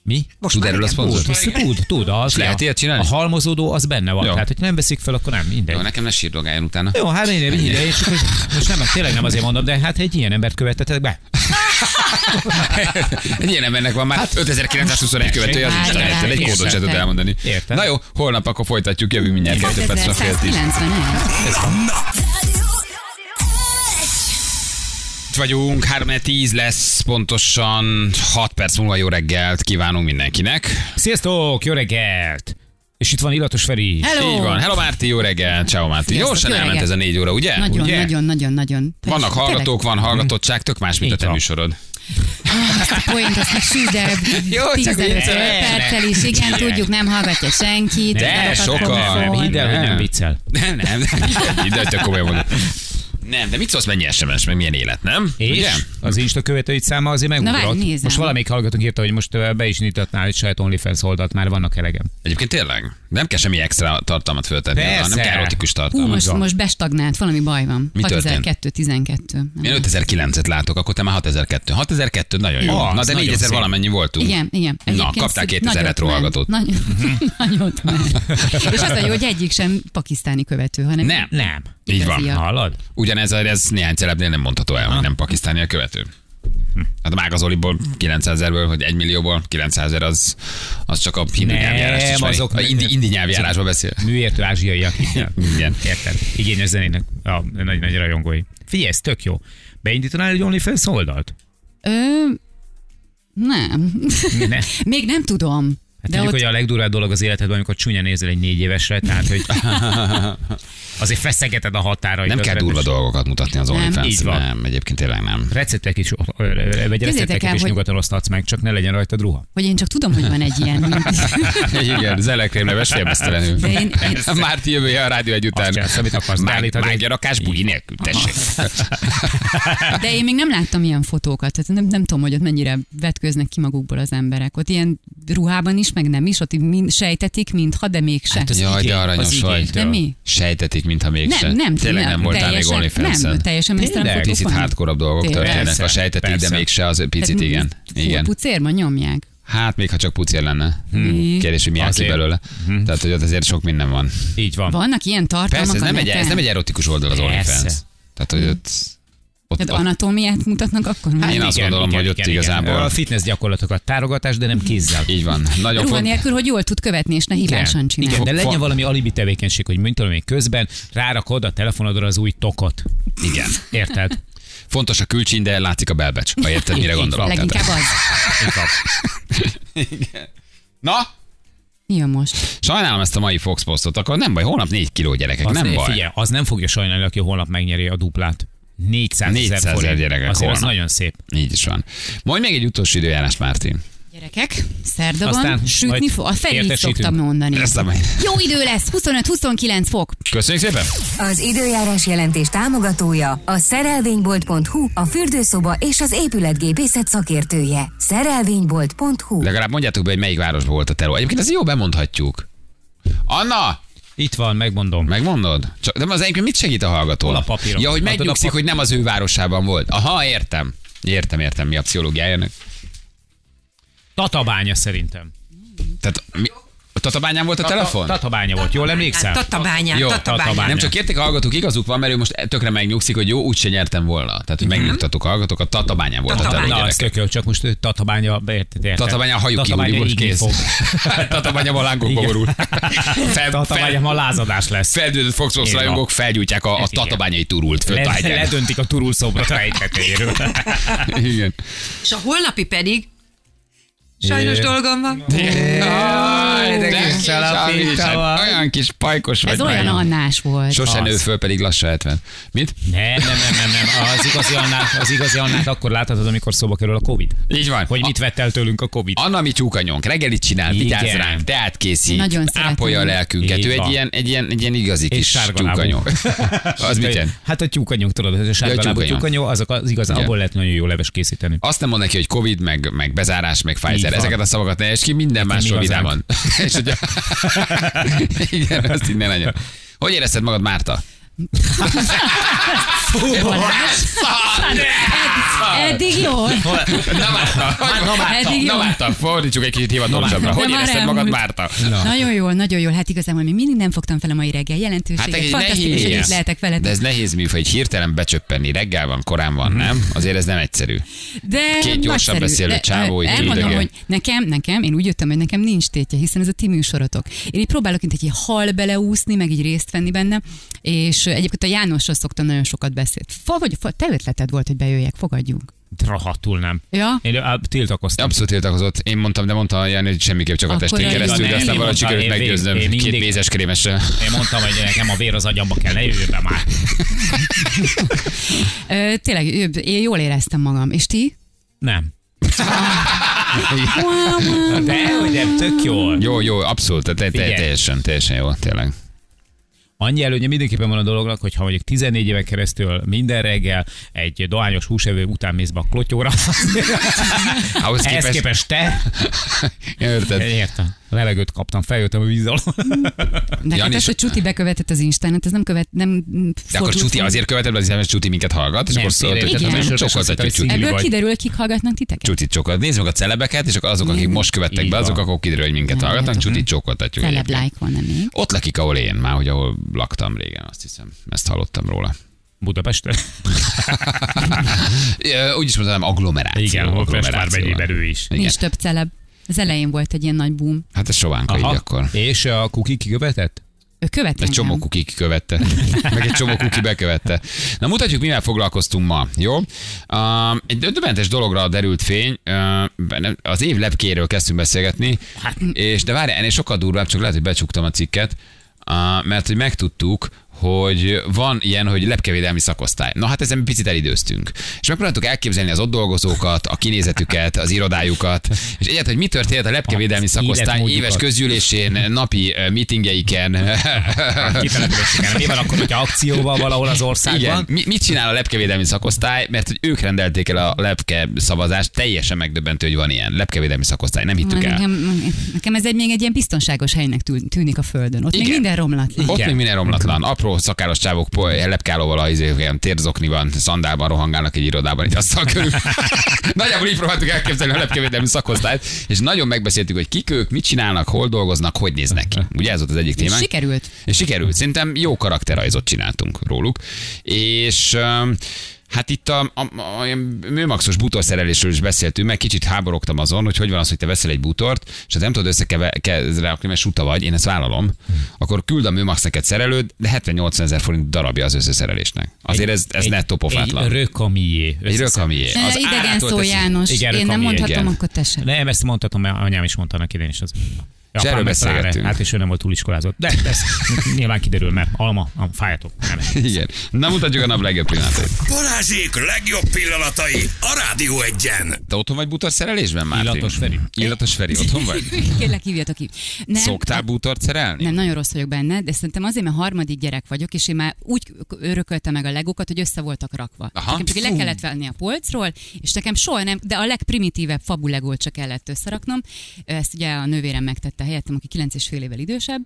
D: Mi?
F: Most
A: Tud
F: már
A: erről a
F: igen.
A: szponzor?
D: Tud, tud, tud, tud, az
A: És lehet
D: ja.
A: ilyet csinálni?
D: A halmozódó az benne van.
A: Jó.
D: Tehát, hogy nem veszik fel, akkor nem, mindegy.
A: Jó, nekem ne sírdogáljon utána.
D: Jó, hát én én ide, és most, most nem, tényleg nem azért mondom, de hát egy ilyen embert követtetek be.
A: Egy ilyen embernek van
D: Hát-
A: már 5921 követője az
F: Hát,
E: Várj,
A: Instagramon.
E: várj,
A: Egy
E: értem.
A: kódot se tud elmondani.
D: Értem.
A: Na jó, holnap akkor folytatjuk, jövő mindjárt kettő percre fél tíz.
E: 6191.
B: Na,
A: Itt vagyunk, 3 10 lesz, pontosan 6 perc múlva jó reggelt kívánunk mindenkinek.
D: Sziasztok, jó reggelt! És itt van Illatos Feri.
E: Hello!
A: Így van, hello Márti, jó reggelt, ciao Márti.
E: Sziasztok,
A: Gyorsan
E: jó
A: elment ez
E: reggelt.
A: a négy óra, ugye?
E: Nagyon,
A: ugye?
E: nagyon, nagyon, nagyon.
A: Vannak
E: Tényleg, Mhm.
A: hallgatók, van hallgatottság, tök más, mint a
D: Így
A: te
D: van.
A: műsorod.
E: Ezt a poént, azt meg süld el
A: Jó, csak
E: 15
A: viccelek.
E: perccel is. Igen, tudjuk, nem hallgatja senki.
A: De
E: tudatokat
A: sokan.
E: kapunk
D: Nem,
E: föl.
D: hidd el, hogy nem viccel.
A: Nem, nem, ide, hogy tök komolyan mondom. Nem, de mit szólsz, mennyi SMS, meg milyen élet, nem?
D: És
A: Ugye?
D: az Insta követőid száma azért megugrott.
E: várj, nézem.
D: most valamelyik hallgatónk írta, hogy most ö, be is indítatnál egy saját OnlyFans oldalt, már vannak elegem.
A: Egyébként tényleg, nem kell semmi extra tartalmat föltenni,
D: Persze.
A: alá, nem kell erotikus
E: Hú,
A: tartalmat.
E: most,
D: van.
E: most bestagnált, valami baj van.
A: Mi történt?
E: 6212.
A: Én 5009-et látok, akkor te már 6002. 6002 nagyon jó.
D: Ah,
A: Na
D: az
A: de
D: nagyon
A: 4000
D: szép.
A: valamennyi voltunk.
E: Igen, igen.
A: Na, kaptál
E: szép-
A: 2000
E: nagyot
A: retro
E: ment.
A: hallgatót.
E: Nagy, nagyot ment. És az a jó, hogy egyik sem pakisztáni követő, hanem
A: Nem.
D: Nem.
A: Így van.
E: Igaziak.
D: Hallod?
A: Ugyanez ez néhány celebnél nem mondható el,
D: Ah.
A: hogy nem pakisztáni a követő. Hát a Mágazoliból 900 ezerből, hogy 1 millióból 900 ezer az, az csak a hindu
D: Nem,
A: nyelvjárást ismeri.
D: azok
A: a
D: nem-
A: indi, indi nyelvjárásba beszél.
D: Műértő ázsiaiak.
A: Igen.
D: Érted? Igényes zenének a nagy-nagy rajongói. Figyelj, ez tök jó. Beindítanál egy OnlyFans oldalt?
E: Ö, nem.
D: Ne.
E: Még nem tudom.
D: Hát
E: de
D: tudjuk,
E: ott
D: hogy a legdurvább dolog az életedben, amikor csúnya nézel egy négy évesre, tehát hogy azért feszegeted a határait.
A: Nem
D: az
A: kell durva
D: rendes.
A: dolgokat mutatni az
E: Nem.
A: OnlyFans.
D: Így van.
A: Nem, egyébként tényleg nem.
D: Receptek is, ö, ö, vagy recepteket
E: el,
D: is
E: hogy-
D: nyugaton osztatsz meg, csak ne legyen rajtad ruha.
E: Hogy én csak tudom, hogy van egy ilyen.
A: Igen, zelekrém leves félmeztelenül.
E: De én- én-
A: Márti jövője a rádió egy után.
D: Azt csinálsz, amit akarsz,
A: Mág-
D: beállítod egy-
A: Mágyarakás buli nélkül, tessék.
E: Ah. De én még nem láttam ilyen fotókat, tehát nem, nem tudom, hogy ott mennyire vetköznek ki magukból az emberek. Ott ilyen ruhában is, meg nem is, ott így mind, sejtetik, mintha, de mégse. Hát,
A: Jaj, de aranyos
D: az
A: vagy.
D: igénytől.
E: de mi?
A: Sejtetik, mintha mégsem.
E: Nem, nem,
A: Tényleg nem,
E: nem,
A: voltál még
E: teljesen-
A: OnlyFans-en.
E: nem, teljesen mesztelen
A: Tényleg?
E: fotók
A: Picit
E: vannak.
A: hardkorabb dolgok
E: Tényleg.
A: történnek, a
D: Persze,
A: sejtetik, de
D: persze.
A: mégse az picit igen. Igen.
E: Pucérban nyomják.
A: Hát még ha csak pucér lenne. Hmm. Kérdés, hogy mi áll ki
D: Azért.
A: belőle.
D: Hm.
A: Tehát, hogy ott azért sok minden van.
D: Így van.
E: Vannak ilyen tartalmak
A: Persze, ez nem,
E: a
A: egy,
E: neten?
A: ez nem egy erotikus oldal az
D: Persze.
A: OnlyFans. Tehát, hogy ott... ott,
E: Tehát
A: ott
E: anatómiát mutatnak akkor? Hát,
A: én azt gondolom, hogy ott igazából-
D: A fitness gyakorlatokat tárogatás, de nem kézzel.
A: így van. Nagyon
E: Ruha
A: font...
E: nélkül, hogy jól tud követni, és ne hibásan csinálja.
D: Igen,
A: Fo-
D: de legyen
A: fo-
D: valami alibi tevékenység, hogy mint tudom én, közben rárakod a telefonodra az új tokot.
A: Igen.
D: Érted?
A: Fontos a külcsin, de látszik a belbecs, ha érted, mire
D: Így van.
A: gondolok. Tehát-
E: Leginkább az.
D: Így van.
A: Na,
E: Mi jön most?
A: sajnálom ezt a mai Fox postot, akkor nem baj, holnap 4 kiló gyerekek,
D: Az
A: nem baj.
D: Figyelj, az nem fogja sajnálni, aki holnap megnyeri a duplát. 400 ezer
A: 400 000
D: forint.
A: gyerekek
D: Azért az
A: holnap.
D: nagyon szép.
A: Így is van. Mondj még egy utolsó időjárást, Mártin.
E: Gyerekek, szerda
D: Aztán
E: van, sütni
D: majd
E: fog. A felé
D: értesítünk.
E: szoktam mondani.
A: Lesz a mai.
E: Jó idő lesz, 25-29 fok.
A: Köszönjük szépen!
C: Az időjárás jelentés támogatója a szerelvénybolt.hu, a fürdőszoba és az épületgépészet szakértője. Szerelvénybolt.hu
A: Legalább mondjátok be, hogy melyik városban volt a teró. Egyébként ezt jó bemondhatjuk. Anna,
D: Itt van, megmondom.
A: megmondod? Csak, de az egyébként mit segít a hallgató?
D: Hol a papírom?
A: Ja, hogy
D: Adod a
A: megnyugszik,
D: pap-
A: hogy nem az ő városában volt. Aha, értem. Értem, értem, mi a pszichológiája ennek.
D: Tatabánya szerintem.
A: Tehát mi, a tatabányán volt a telefon?
D: Tatabánya volt, jól emlékszem?
F: Tatabányán,
A: Jó,
F: Tatabányán.
D: Tatabányán.
A: Nem csak érték a hallgatók, igazuk van, mert ő most tökre megnyugszik, hogy jó, úgyse nyertem volna. Tehát,
D: Mhm.
A: hogy megnyugtatok a hallgatók, a tatabányán volt a
F: Tatabányán.
A: teró,
D: Na, az
A: gyerekek.
D: tök jó, csak most ő Tatabánya, érted? érted?
A: Tatabánya hajuk kiúri, most
D: égni
A: kész.
D: fog.
A: Tatabánya ma lángokba
D: Igen.
A: borul. Fel-
D: Tatabánya
A: fel-
D: ma lázadás lesz.
A: Feldődött Fox
D: Így van.
A: rajongók felgyújtják a, a
D: Igen.
A: tatabányai turult
D: Le,
A: föltájtják.
D: ledöntik a turul szobrot a rejtetéről.
A: Igen.
F: És a holnapi pedig Sajnos dolgom van.
A: Jaj,
D: de kis csalapító van.
A: hát Olyan kis pajkos vagy.
E: Ez olyan
A: már.
E: annás volt.
A: Sose
E: Az.
A: nő föl, pedig lassan 70. Mit?
D: Nem, nem, nem, nem, nem. Az igazi Annát, az igazi Annát akkor láthatod, amikor szóba kerül a Covid.
A: Így van.
D: Hogy mit vett el tőlünk a Covid.
A: Anna mi tyúkanyonk, reggelit csinál, vitáz
D: Igen.
A: ránk, teát készít,
E: Nagyon szeretem.
A: ápolja a lelkünket.
D: Így
A: Ő egy
D: van.
A: ilyen, egy ilyen, egy ilyen igazi
D: És
A: kis
D: sárga lábú.
A: tyúkanyonk. Az mit jelent?
D: Hát a tyúkanyók, tudod, ez a sárga lábú
A: tyúkanyó.
D: tyúkanyó, azok az igazán,
A: Igen.
D: abból lehet nagyon jó leves készíteni.
A: Azt nem mond neki, hogy Covid, meg, meg bezárás, meg Pfizer.
D: Így van.
A: Ezeket a szavakat ne és ki, minden
D: mi
A: másról
D: igazánk.
A: vidáman. és ugye... Igen, azt így ne legyen. Hogy érezted magad, Márta? Fú,
E: Eddig jó.
A: Na Márta, na Márta,
E: Eddig
A: na
E: jó.
A: Márta, fordítsuk egy kicsit hivatalosabbra.
E: Márta.
A: Hogy
E: De már
A: érezted magad,
E: elmúlt.
A: Márta?
E: Nagyon jól, nagyon jól. Hát igazából még mindig nem fogtam fel a mai reggel
A: Hát
E: jelentőséget.
A: egy
E: Fantasztikus, hogy itt
A: nehéz.
E: lehetek veletek.
A: De ez nehéz műfaj, egy hirtelen becsöppenni. Reggel van, korán van, nem? Azért ez nem egyszerű.
E: De
A: Két gyorsan
E: nagyszerű.
A: beszélő
E: De,
A: csávó
E: ö,
A: itt
E: Elmondom,
A: üldögél.
E: hogy nekem, nekem, én úgy jöttem, hogy nekem nincs tétje, hiszen ez a ti műsorotok. Én így próbálok itt egy ilyen hal beleúszni, meg így részt venni benne, és ö, egyébként a Jánosra szoktam nagyon sokat beszélni. Fa, vagy, fa, te ötleted volt, hogy bejöjjek, fogadjunk.
D: Rahatul nem.
E: Ja?
D: Én á, tiltakoztam.
A: Abszolút tiltakozott. Én mondtam, de mondta a Jani, hogy semmiképp csak a
E: Akkor
A: testén
E: a-
A: keresztül,
E: Igen,
A: de aztán
D: Nelly
A: valahogy
D: mondta,
A: sikerült
D: én vég-
A: meggyőznöm.
D: én
A: Két
D: mindig-
A: mézes krémessel.
D: Én mondtam, hogy nekem a vér az agyamba kell, ne jöjjön be már.
E: Ö, tényleg, ö, én jól éreztem magam. És ti?
D: Nem.
A: Igen.
D: De, hogy nem, tök jól.
A: Jó, jó, abszolút, te, te, te,
D: Figyelj.
A: teljesen, teljesen jó, tényleg.
D: Annyi előnye mindenképpen van a dolognak, hogy ha mondjuk 14 éven keresztül minden reggel egy dohányos húsevő után mész be a klotyóra,
A: Ahhoz
D: ehhez
A: képest,
D: képest te,
A: érted?
D: értem, levegőt kaptam, feljöttem a víz alól.
E: De hát
A: Jani
E: ez,
A: is-
E: hogy Csuti bekövetett az Instán, hát ez nem követ, nem
A: De akkor Csuti azért követed, be, mert Csuti minket hallgat, és
D: Nem,
A: akkor
D: tényleg,
A: szólt,
E: igen.
A: hogy
D: Sőt,
A: csokoltatjuk
D: azt hittem,
A: Csuti.
D: hogy
E: Ebből
D: vagy.
E: kiderül, kik hallgatnak titeket.
A: Csutit csokolt. Nézd meg a celebeket, és akkor azok, akik most követtek
D: Így
A: be, azok,
D: van. hát,
A: akkor kiderül, hogy minket
E: Nem
A: hallgatnak,
E: látom.
A: Csutit csokoltatjuk.
E: Celeb
A: egyébként.
E: like volna még.
A: Ott lakik, ahol én már, hogy ahol laktam régen, azt hiszem. Ezt hallottam róla.
D: Budapesten?
A: Ö, Úgy is mondanám, agglomeráció.
D: Igen, hol
A: Hát agglomeráció.
D: Festvárbegyében ő is.
A: Igen.
E: Nincs több celeb. Az elején volt egy ilyen nagy boom.
A: Hát ez sovánka így akkor.
D: És a kuki kikövetett?
E: Ő követ
A: Egy
E: engem.
A: csomó kuki követte. Meg egy csomó kuki bekövette. Na mutatjuk, mivel foglalkoztunk ma, jó? Um, egy döbbentes dologra derült fény. Uh, nem- az év lepkéről kezdtünk beszélgetni. És de várj, ennél sokkal durvább, csak lehet, hogy becsuktam a cikket. Uh, mert hogy megtudtuk, hogy van ilyen, hogy lepkevédelmi szakosztály. Na hát ezen picit elidőztünk. És megpróbáltuk elképzelni az ott dolgozókat, a kinézetüket, az irodájukat, és egyet, hogy mi történt a lepkevédelmi
D: Az
A: szakosztály
D: életmódjukat.
A: éves közgyűlésén, napi ö, meetingeiken,
D: Kitelepüléseken. Mi van akkor, hogyha akcióval valahol az
A: igen.
D: országban?
A: Mi, mit csinál a lepkevédelmi szakosztály? Mert hogy ők rendelték el a lepke szavazást, teljesen megdöbbentő, hogy van ilyen lepkevédelmi szakosztály, nem hittük el.
E: Nekem, nekem ez egy még egy ilyen biztonságos helynek tűn- tűnik a földön. Ott
A: Igen.
E: még minden romlatlan.
A: Ott
D: Igen.
A: még minden romlatlan. Apró szakáros csávok po- lepkálóval, a izé, ilyen térzokni van, szandálban rohangálnak egy irodában, egy asztal körül. Nagyjából így próbáltuk elképzelni a lepkevédelmi szakosztályt, és nagyon megbeszéltük, hogy kik ők, mit csinálnak, hol dolgoznak, hogy néznek ki. Ugye ez volt az egyik
E: És
A: témánk.
E: sikerült.
A: És sikerült. Szerintem jó karakterrajzot csináltunk róluk. És öm, Hát itt a, a, a, a műmaxos bútorszerelésről is beszéltünk, meg kicsit háborogtam azon, hogy hogy van az, hogy te veszel egy bútort, és ha nem tudod összekeverni, mert suta vagy, én ezt vállalom, akkor küld a műmax neked szerelőd, de 70-80 ezer forint darabja az összeszerelésnek. Azért ez, ez netto
D: Egy
A: pofátlan.
D: rökamié.
A: Egy rökamié.
E: Ne, idegen szó, János.
D: Igen,
E: Én nem
D: Rokomi,
E: mondhatom,
A: igen.
E: akkor te sem.
D: Nem, ezt mondhatom, mert anyám is mondta annak idén is az. Ja,
A: erről
D: apám meg pláne.
A: beszélgettünk.
D: Hát és ő nem volt túliskolázott. De ez nyilván kiderül, mert alma, a fájatok. Nem.
A: Igen. Na mutatjuk a nap legjobb pillanatait.
B: Balázsék legjobb pillanatai a Rádió egyen.
A: Te otthon vagy bútorszerelésben már?
D: Illatos Feri.
A: Illatos Feri, otthon vagy?
E: Kérlek, hívjatok ki. Nem,
A: Szoktál bútort szerelni?
E: Nem, nagyon rossz vagyok benne, de szerintem azért, mert harmadik gyerek vagyok, és én már úgy örököltem meg a legókat, hogy össze voltak rakva.
A: Aha.
E: Nekem csak így le
A: Fú.
E: kellett venni a polcról, és nekem soha nem, de a legprimitívebb fabulegót csak kellett összeraknom. Ezt ugye a nővérem megtette helyettem, aki 9 és fél évvel idősebb,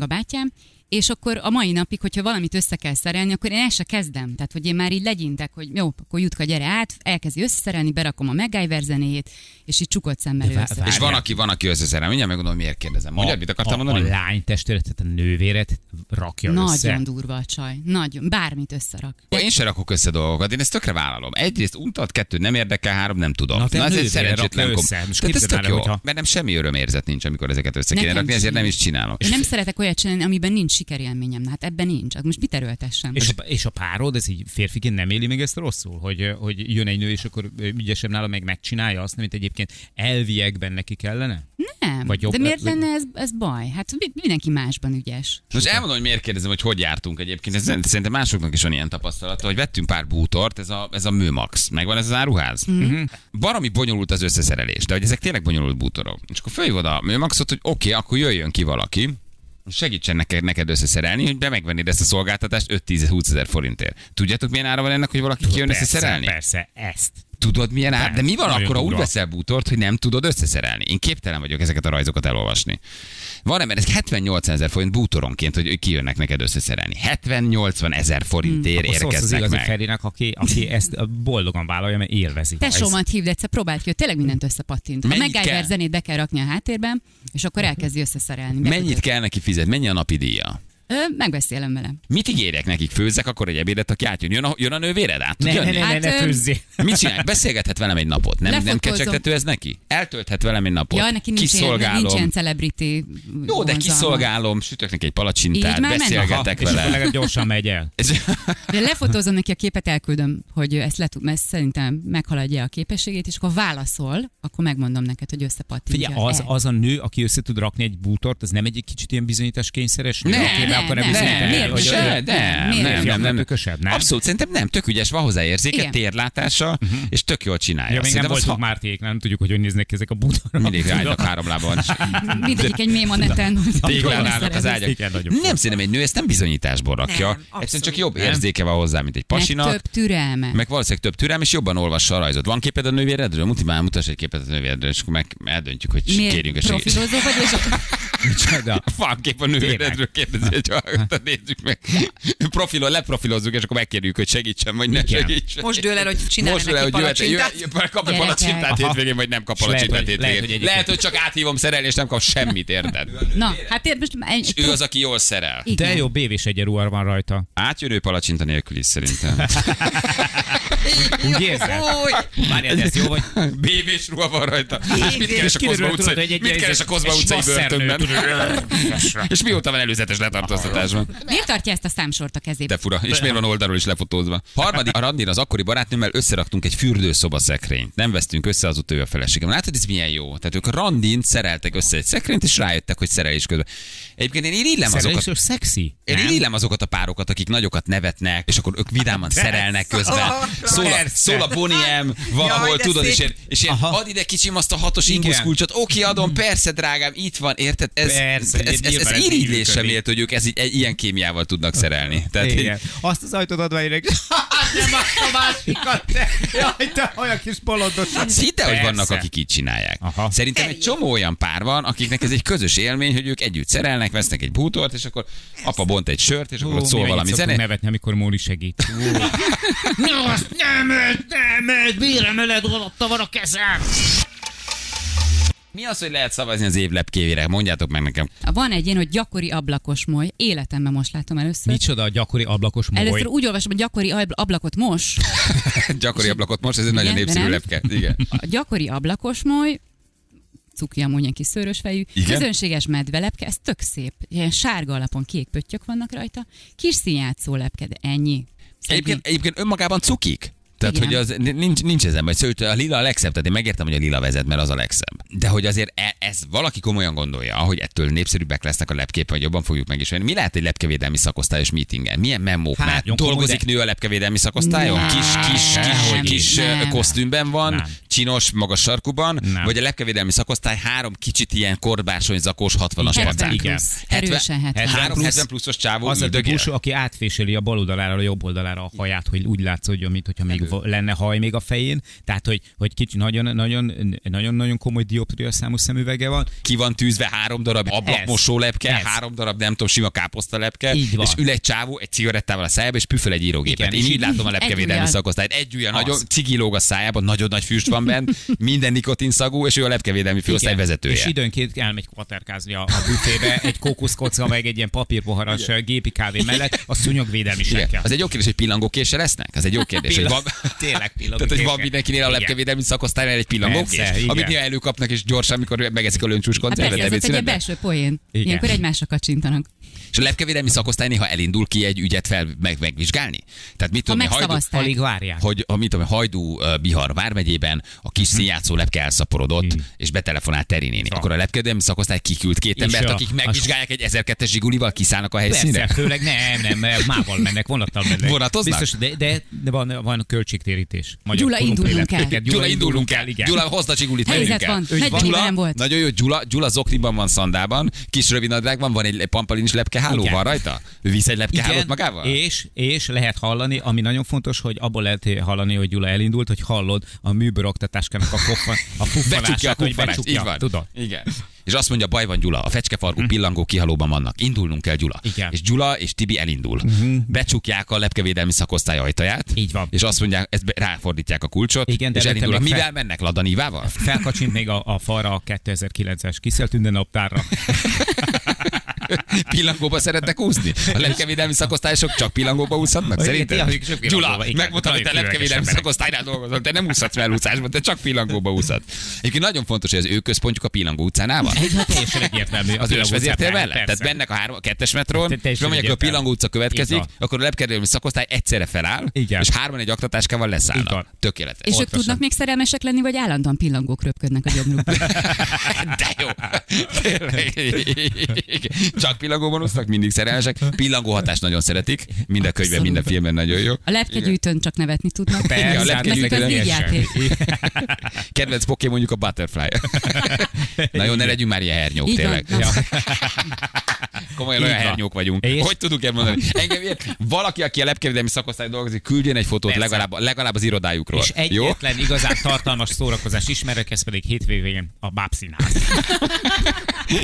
E: a bátyám, és akkor a mai napig, hogyha valamit össze kell szerelni, akkor én el se kezdem. Tehát, hogy én már így legyintek, hogy jó, akkor Jutka, gyere át, elkezdi összeszerelni, berakom a MacGyver zenéjét, és így csukott szemmel ő
D: vá-
E: össze.
A: És van,
D: Várjál.
A: aki, van, aki összeszerel. Mindjárt megmondom, miért kérdezem. Mondjad, mit akartam
D: a,
A: mondani?
D: A lány testvéret, tehát a nővéret rakja
E: Nagyon
D: össze.
E: durva a csaj. Nagyon. Bármit összerak.
A: Én sem rakok össze dolgokat, én ezt tökre vállalom. Egyrészt untat, kettő nem érdekel, három nem tudom.
D: Na, te
A: ez egy
D: nővére
A: szerencsétlen
D: rakja
A: kom.
D: össze. Most
A: Tehát ez
D: képzeld
A: tök
D: el,
A: jó,
D: hogyha-
A: mert nem semmi örömérzet nincs, amikor ezeket össze kéne
E: Nekem
A: rakni, ezért nem is
E: sincs.
A: csinálom.
E: Én nem szeretek olyat csinálni, amiben nincs sikerélményem. Na, hát ebben nincs. Akkor Most mit erőltessem?
D: És a, és a párod, ez így férfiként nem éli még ezt rosszul, hogy, hogy jön egy nő, és akkor ügyesebb nála meg megcsinálja azt, amit egyébként elviekben neki kellene?
E: nem.
D: vagy jobb
E: De miért
D: lett-
E: lenne ez, ez baj? Hát mi- mindenki másban ügyes.
A: Most elmondom, hogy miért kérdezem, hogy hogy jártunk egyébként. Ez szerintem másoknak is van ilyen tapasztalata, hogy vettünk pár bútort, ez a, ez a Mőmax. Megvan ez az áruház?
D: Mhm.
A: Mm-hmm. Baromi bonyolult az összeszerelés, de hogy ezek tényleg bonyolult bútorok. És akkor följön oda a Mőmaxot, hogy oké, okay, akkor jöjjön ki valaki, és segítsen neked, neked összeszerelni, hogy be megvennéd ezt a szolgáltatást 5-10-20 ezer forintért. Tudjátok, milyen ára van ennek, hogy valaki kijön
D: persze,
A: összeszerelni?
D: Persze, ezt.
A: Tudod milyen ár? De mi van
D: Nagyon
A: akkor, ha úgy
D: durva.
A: veszel bútort, hogy nem tudod összeszerelni? Én képtelen vagyok ezeket a rajzokat elolvasni. Van ember, ez 78 ezer forint bútoronként, hogy ők kijönnek neked összeszerelni. 70-80 ezer forintért
D: Hmm. Akkor szólsz az
A: érkeznek
D: igazi
A: meg.
D: Ferinek, aki, aki ezt boldogan vállalja, mert élvezi.
E: Tesómat hívd egyszer, próbáld ki, hogy tényleg mindent összepattint. A
A: Mennyit kell?
E: MacGyver zenét be kell rakni a háttérben, és akkor
D: Mhm.
E: elkezdi összeszerelni.
A: Mennyit
E: Bekötött.
A: kell neki fizetni? Mennyi a napi díja?
E: Ö, megbeszélem vele.
A: Mit ígérek nekik? Főzzek akkor egy ebédet, aki átjön. Jön a, jön a nővéred át? Tud
D: Ne, ne,
A: jönni?
D: ne, ne,
E: Hát,
D: ne
E: öm,
D: főzzé.
A: Mit csinálják? Beszélgethet velem egy napot. Nem, nem
E: Lefotózom.
A: kecsegtető ez neki? Eltölthet velem egy napot.
E: Ja, neki nincs ilyen,
A: kiszolgálom.
E: nincs ilyen celebrity
A: Jó, de
E: vonzalma.
A: kiszolgálom, sütök neki egy palacsintát,
E: Így már mennek.
A: beszélgetek
D: és akkor
A: vele.
D: legalább gyorsan megy el.
E: De lefotózom neki a képet, elküldöm, hogy ezt le tud, mert szerintem meghaladja a képességét, és akkor válaszol, akkor megmondom neked, hogy összepattintja.
D: Figyelj, az,
E: el.
D: az a nő, aki össze tud rakni egy bútort, az nem egy kicsit ilyen bizonyítás kényszeres?
A: Ne,
E: ne,
D: akkor
E: ne,
D: bizonyítani,
E: miért
D: hogy-
E: is?
A: se,
E: Ne,
A: nem, nem,
E: miért?
A: nem, nem, nem,
D: Tökösebb, nem?
A: Abszolút, szerintem nem, tök ügyes, van hozzá érzéke,
E: Igen.
A: térlátása, és tök jól csinálja.
D: Mhm. Ja, még nem
A: Szerintem az
D: voltunk
A: ha-
D: Márték, nem tudjuk, hogy hogy néznek ki ezek a bútorok.
A: Mindig állnak három lábon, és
E: Mindegyik egy mém a neten. hogy
A: téglán
E: hogyan
A: állnak az
E: szerez.
A: ágyak.
D: Igen, nagyon
A: Nem szerintem egy nő ezt nem bizonyításból rakja.
F: Nem,
A: Egyszerűen
F: abszolút
A: csak jobb
D: nem.
A: érzéke van hozzá, mint egy
E: Meg
A: pasinak.
E: több türelme.
A: Meg valószínűleg több türelm, és jobban olvassa a rajzot. Van képed a nővéredről? Muti már mutass egy képet a nővéredről, és akkor meg eldöntjük, hogy kérjünk a
E: Miért
A: segítséget.
E: profilozó vagy, és
D: Micsoda?
A: Van kép a nővéredről kérdezi, hogy hallgatta, nézzük meg. Profilon, leprofilozzuk, és akkor megkérjük, hogy segítsen, vagy ne
D: Igen.
A: segítsen.
F: Most dől el, hogy csinálj
A: Most
F: neki
A: le, hogy jöhet,
F: palacsintát.
A: jöhet, jöhet, kap egy
E: Gyerekek.
A: palacsintát
D: Aha.
A: hétvégén, vagy nem kap
D: És lehet,
A: palacsintát
D: hogy- lehet, hogy
A: hétvégén.
D: egyébként-
A: Lehet, hogy csak áthívom szerelni, és nem kap semmit, érted?
E: Na, hát érted, most egy,
A: És ő az, aki jól szerel.
E: Igen.
D: De jó, bévés egyenruhar van rajta.
A: Átjön ő palacsinta nélkül is szerintem.
D: Úgy érzed?
F: Új,
D: Várjál, de ez jó, vagy?
A: Bévés ruha van rajta. És mit
D: És
A: keres a
D: kiderül,
A: Kozma
D: tudod,
A: utcai,
D: hogy egy-
A: mit keres a
D: egy-
A: Kozma
D: egy
A: utcai
D: masszernő,
A: börtönben?
D: tudod.
A: És mióta van előzetes letartóztatásban?
E: Miért tartja ezt a számsort a kezébe?
A: De fura, és miért van oldalról is lefotózva? Harmadik, a Randin az akkori barátnőmmel összeraktunk egy fürdőszoba szekrényt. Nem vesztünk össze, az ő a feleségem. Látod, ez milyen jó? Tehát ők a Randin szereltek össze egy szekrényt, és rájöttek, hogy szerelés közben. Egyébként én irillem azokat.
D: Szerelés, és szexi.
A: Én illem azokat a párokat, akik nagyokat nevetnek, és akkor ők vidáman
D: Persze. Ah,
A: szerelnek közben.
F: Ó,
A: Szól a,
D: persze. Ah.
A: szól a Boniem valahol,
F: Jaj, de
A: tudod,
F: szép.
A: és én, és én
D: Aha.
A: add ide kicsim azt a hatos
D: Igen. Mhm.
A: ingusz kulcsot, oké, adom, persze, drágám, itt van, érted? Ez,
D: Persze,
A: ez, ez, ez,
D: nyilván
A: ez
D: ez így
A: irigylésem
D: működik.
A: ért, hogy ők ez, így- egy, ilyen kémiával tudnak szerelni. Tehát,
D: Igen. Azt az ajtót adva érek. Nem azt a másikat, te. Jaj, te olyan kis bolondos.
A: Hát hidd el, hogy
D: Persze.
A: vannak, akik így csinálják.
D: Aha.
A: Szerintem egy csomó olyan pár van, akiknek ez egy közös élmény, hogy ők együtt szerelnek, vesznek egy bútort, és akkor apa bont egy sört, és akkor ott
D: Ó,
A: szól
D: mi
A: valami
D: mennyit szoktunk
A: zene.
D: nevetni, amikor Móri segít.
G: Na, azt nem ölt, nem ölt, mire öled, alatta van a kezem.
A: Mi az, hogy lehet szavazni az év lepkévére? Mondjátok meg nekem.
E: Van egy ilyen, hogy gyakori ablakos moly. Életemben most látom először.
D: Micsoda a gyakori ablakos moly.
E: Először úgy olvasom, hogy gyakori abl- ablakot mos.
A: Gyakori ablakot most, ez egy nagyon
E: Igen, de
A: népszerű
E: nem?
A: lepke. Igen.
E: A gyakori ablakos moly, cuki amúgy ilyen kis szőrös fejű,
A: Igen?
E: közönséges medvelepke, ez tök szép. Ilyen sárga alapon kék pöttyök vannak rajta, kis színjátszó lepke, de ennyi.
A: Egyébként, egyébként önmagában cukik. Tehát,
E: Igen.
A: hogy az, nincs, nincs ezen, vagy sőt, a lila a legszebb, tehát én megértem, hogy a lila vezet, mert az a legszebb. De hogy azért e, ez valaki komolyan gondolja, hogy ettől népszerűbbek lesznek a lepkép, vagy jobban fogjuk megismerni. Mi lehet egy lepkevédelmi szakosztályos meetingen? Milyen memók
D: Hát,
A: hát, már?
D: nagyon komoly,
A: Dolgozik nő a lepkevédelmi szakosztályon?
E: Nem.
A: Kis, kis,
E: Nem,
A: kis, kis
E: nem.
A: ö, kosztümben van,
D: Nem.
A: csinos, magas sarkuban,
D: Nem.
A: vagy a lepkevédelmi szakosztály három kicsit ilyen korbársony zakós 60-as
E: 70
A: pacák.
E: plusz.
D: Igen.
E: Erősen Hát
A: Három
E: 70
D: 70 plusz.
A: 70 pluszos csávó
D: Az a
A: üldögél.
D: típusú, aki átféseli a bal oldalára, a jobb oldalára a haját, hogy úgy látszódjon, mint hogyha még va- lenne haj még a fején. Tehát, hogy, hogy kicsi nagyon, nagyon, nagyon, nagyon komoly dioptria számú szemüvege van.
A: ki van tűzve három darab ablakmosó lepke,
D: Ez.
A: három darab nem tudom, sima káposzta lepke,
D: Így van.
A: és ül egy csávó egy cigarettával a szájába, és püföl egy írógépet.
D: Igen,
A: Én
D: és
A: így
D: így-
A: látom a
E: egy
A: lepkevédelmi
E: ujjal.
A: szakosztályt. Egy ujja
D: Az.
A: nagyon cigilóg a szájában, nagyon nagy füst van bent, minden nikotin szagú, és ő a lepkevédelmi főosztály
D: Igen.
A: vezetője.
D: És időnként elmegy kvaterkázni a, a büfébe, egy kókuszkocka, meg egy ilyen papírpoharas ö, gépi kávé mellett, a szúnyogvédelmi
A: Igen.
D: sekkel.
A: Az egy jó kérdés, hogy pillangókése lesznek? Az egy jó kérdés. hogy van...
D: Pillan- Tényleg pillangó
A: Tehát, hogy van
D: késsel.
A: mindenkinél a
D: Igen.
A: lepkevédelmi szakosztálynál egy pillangókés,
D: Persze, igen.
A: amit néha előkapnak, és gyorsan, mikor megeszik a löncsús
E: Hát persze,
A: koncertet
E: ez ott egy ilyen
A: ebédszünetben.
E: belső poén.
D: Igen.
E: Ilyenkor egymásra kacsintanak.
A: És a lepkevédelmi szakosztály néha elindul ki egy ügyet fel meg, megvizsgálni. Tehát mit
E: Ha
A: tudom, én, hajdu,
E: megszavazták.
D: Alig várják.
A: hogy a, mit tudom, én, Hajdú ö, Bihar vármegyében a kis színjátszó lepke elszaporodott, és betelefonált Teri néni. Akkor a lepkevédelmi szakosztály kiküld két
D: És
A: embert,
D: a-
A: akik
D: a-
A: megvizsgálják egy 1002-es zsigulival, kiszállnak a
D: Persze,
A: helyszínre.
D: főleg nem, nem, mert mával mennek, vonattal mennek.
A: Vonatoznak?
D: Biztos, de, de, de van, van költségtérítés. Magyar
E: Gyula,
D: korunk
E: induljunk
D: életeket.
E: el.
A: Gyula, indulunk el,
D: igen.
A: Gyula, hozd a csigulit,
E: Helyzet
A: menjünk el.
E: van. Ügy Negyven van. éve nem volt.
A: Nagyon jó, Gyula, Gyula zokniban van, szandában, kis rövidnadrágban van egy pampalin is lepkeháló,
D: Igen.
A: van rajta? Ő visz egy lepkehálót magával?
D: És, és lehet hallani, ami nagyon fontos, hogy abból lehet hallani, hogy Gyula elindult, hogy hallod a műbőroktatáskának a, koffa, a
A: Becsukja a
D: puffanását, hogy
A: kuffanást, így
D: becsukja,
A: van.
D: tudod.
A: Igen. És azt mondja, baj van Gyula, a fecskefarkú pillangó kihalóban vannak, indulnunk kell Gyula.
D: Mhm. Igen. Mhm.
A: És Gyula és Tibi elindul. Becsukják a lepkevédelmi szakosztály ajtaját.
D: Így van.
A: És azt mondják, ezt be- ráfordítják a kulcsot,
D: Igen, de
A: és
D: előtte
A: elindulnak.
D: még fel-
A: Mivel mennek? Ladanívával?
D: Felkacsint még a, a falra a 2009-es kiszelt ünneptárra.
A: pillangóba szeretnek úszni? A lepkevédelmi szakosztályosok csak pillangóba úszhatnak?
D: Igen,
A: Szerinted?
D: tényleg, csak pillangóba,
A: Gyula,
D: igen.
A: megmondtam, hogy te
D: Nagyon
A: lepkevédelmi
D: különleges
A: szakosztálynál dolgozol, te nem úszhatsz felúszásban, te csak pillangóba úszhat. Egyébként nagyon fontos, hogy az ő központjuk a pillangó utcánál van.
D: Hát teljesen egyértelmű.
A: Az ős vezértér vele?
D: Persze.
A: Tehát bennek a, három, a kettes metrón,
D: Te-
A: és
D: teljesen
A: bemegyek, hogy a
D: egyértelmű.
A: Pillangó utca következik,
D: Így van.
A: akkor a lepkedelmi szakosztály egyszerre feláll,
D: Igen.
A: és hárman egy aktatáskával
D: Így
A: leszállnak.
D: van.
A: Tökéletes.
E: És ők
D: Pontosan.
E: tudnak még szerelmesek lenni, vagy állandóan pillangók röpködnek a gyomrukban.
A: De jó. Tényleg. Csak pillangóban úsznak, mindig szerelmesek. Pillangó hatást nagyon szeretik. Mind a könyvben, mind a filmben nagyon jó.
E: A lepkegyűjtőn csak nevetni tudnak.
A: Igen, a
D: Persze, hát
A: lepke
E: Nekik
A: gyűjtőn
E: ez
A: ilyen
E: így játék.
A: Kedvenc poké mondjuk a Butterfly. Na jó, ne legyünk már ilyen hernyók,
E: Így van.
A: tényleg.
E: Na.
A: Ja. Komolyan
D: Így
A: olyan
D: van.
A: hernyók vagyunk.
D: És?
A: Hogy tudunk ezt mondani? Engem ilyet, valaki, aki a lepkevédelmi szakosztály dolgozik, küldjön egy fotót
D: Persze.
A: legalább, legalább az irodájukról.
D: És
A: jó?
D: egyetlen igazán tartalmas szórakozás ismerek, ez pedig hétvégén a bábszínház.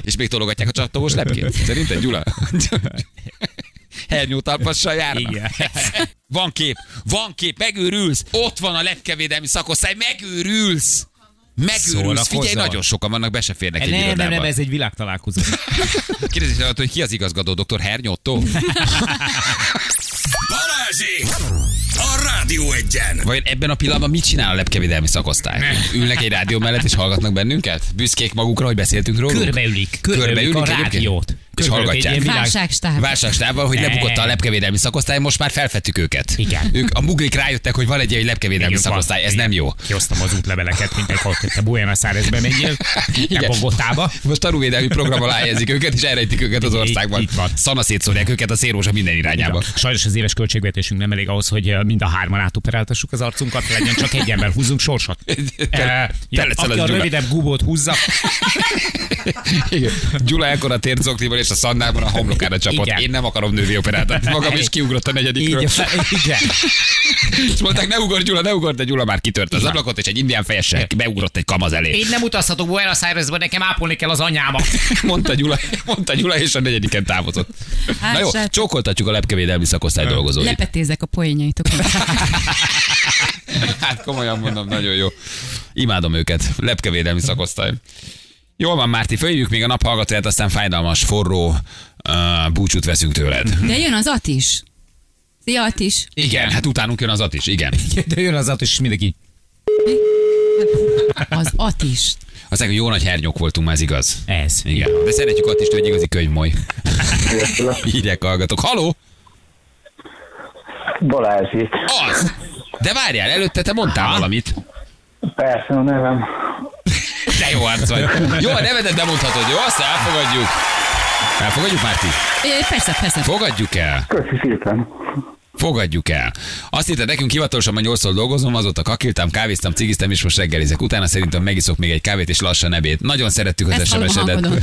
A: És még tologatják a csatolós lepkét. Szerinted, Gyula? Hernyótalpassal járnak.
D: Igen.
A: Van kép, van kép, megőrülsz. Ott van a lepkevédelmi szakosztály, megőrülsz. Megőrülsz.
D: Szórakozza
A: Figyelj,
D: van.
A: nagyon sokan vannak, be se férnek egy
D: Nem, nem,
A: irodába.
D: nem, ez egy világtalálkozó.
A: Kérdezi alatt, hogy ki az igazgató, dr. Hernyotto?
B: Balázsi! A Rádió egyen!
A: Vajon ebben a pillanatban mit csinál a lepkevédelmi szakosztály? Ülnek egy rádió mellett és hallgatnak bennünket? Büszkék magukra, hogy beszéltünk róluk?
D: Körbeülik, körbeülik a
A: egyébként?
D: rádiót.
A: És
D: Körbeülik egy
A: hallgatják.
D: ilyen világ-
E: Válságstáb.
A: Válságstábbal, hogy
D: Ne.
A: lebukott a lepkevédelmi szakosztály, most már felfedtük őket.
D: Igen.
A: Ők a mugrik rájöttek, hogy van egy ilyen lepkevédelmi
D: Még van.
A: szakosztály, ez nem jó.
D: Kiosztom az útleveleket, mint egy hogy te Buenos Airesbe menjél, te
A: Igen.
D: Bogotába.
A: Most tanúvédelmi program alá helyezik őket, és elrejtik őket az
D: Így-
A: országban.
D: így van.
A: Szana szétszórják őket a szérózsa minden irányába.
D: Sajnos az éves költségvetésünk nem elég ahhoz, hogy eh, mind a hárman átoperáltassuk az arcunkat, legyen csak egy ember, húzzunk sorsot.
A: Te-
D: Eh,
A: te
D: ja,
A: leszel az
D: Aki a
A: Gyula.
D: rövidebb gubót húzza,
A: Igen. Gyula ekkor a tért zoknival és a szannában a homlokára csapott.
D: Igen.
A: Én nem akarom nővi operát. Magam is kiugrott a negyedikről.
D: így, igen.
A: És mondták, ne ugorj Gyula, ne ugorj, de Gyula már kitört az ablakot, és egy indián fejessel beugrott egy kamaz elé.
D: Én nem utazhatok Buenos Airesbe, nekem ápolni kell az anyámat.
A: Mondta Gyula, mondta Gyula, és a negyediken távozott.
E: Hát,
A: Na jó,
E: srác.
A: csókoltatjuk a lepkevédelmi szakosztály dolgozóit.
E: Lepetézek a poénjaitokon.
A: Hát komolyan mondom, nagyon jó. Imádom őket, lepkevédelmi szakosztály. Jól van, Márti, följük még a naphallgatóját, aztán fájdalmas, forró uh, búcsút veszünk tőled.
E: De jön az Atis. Szia Atis.
A: Igen, hát utánunk jön az Atis, igen.
D: De jön az autó, és mindenki.
E: Az Atis.
A: Azt mondják, hogy jó nagy hernyók voltunk, már ez igaz.
D: Ez.
A: Igen. De szeretjük Attist, ő egy igazi könyvmoly. Hírek hallgatok. Haló?
H: Balázs itt.
A: Az! De várjál, előtte te mondtál valamit.
H: Persze a nevem.
A: De jó arc vagy. Jó, a nevedet nem mondhatod, jó? Azt elfogadjuk. Elfogadjuk, Márti?
E: É, Persze, persze.
A: Fogadjuk el.
H: Köszi szépen.
A: Fogadjuk el. Azt hitte nekünk hivatalosan, hogy 8 dolgozom, azóta kakiltam, kávéztam, cigiztem, és most reggelizek. Utána szerintem megiszok még egy kávét, és lassan ebéd. Nagyon szerettük az
E: Ezt hallom a
A: SMS-edet.
E: hangodon.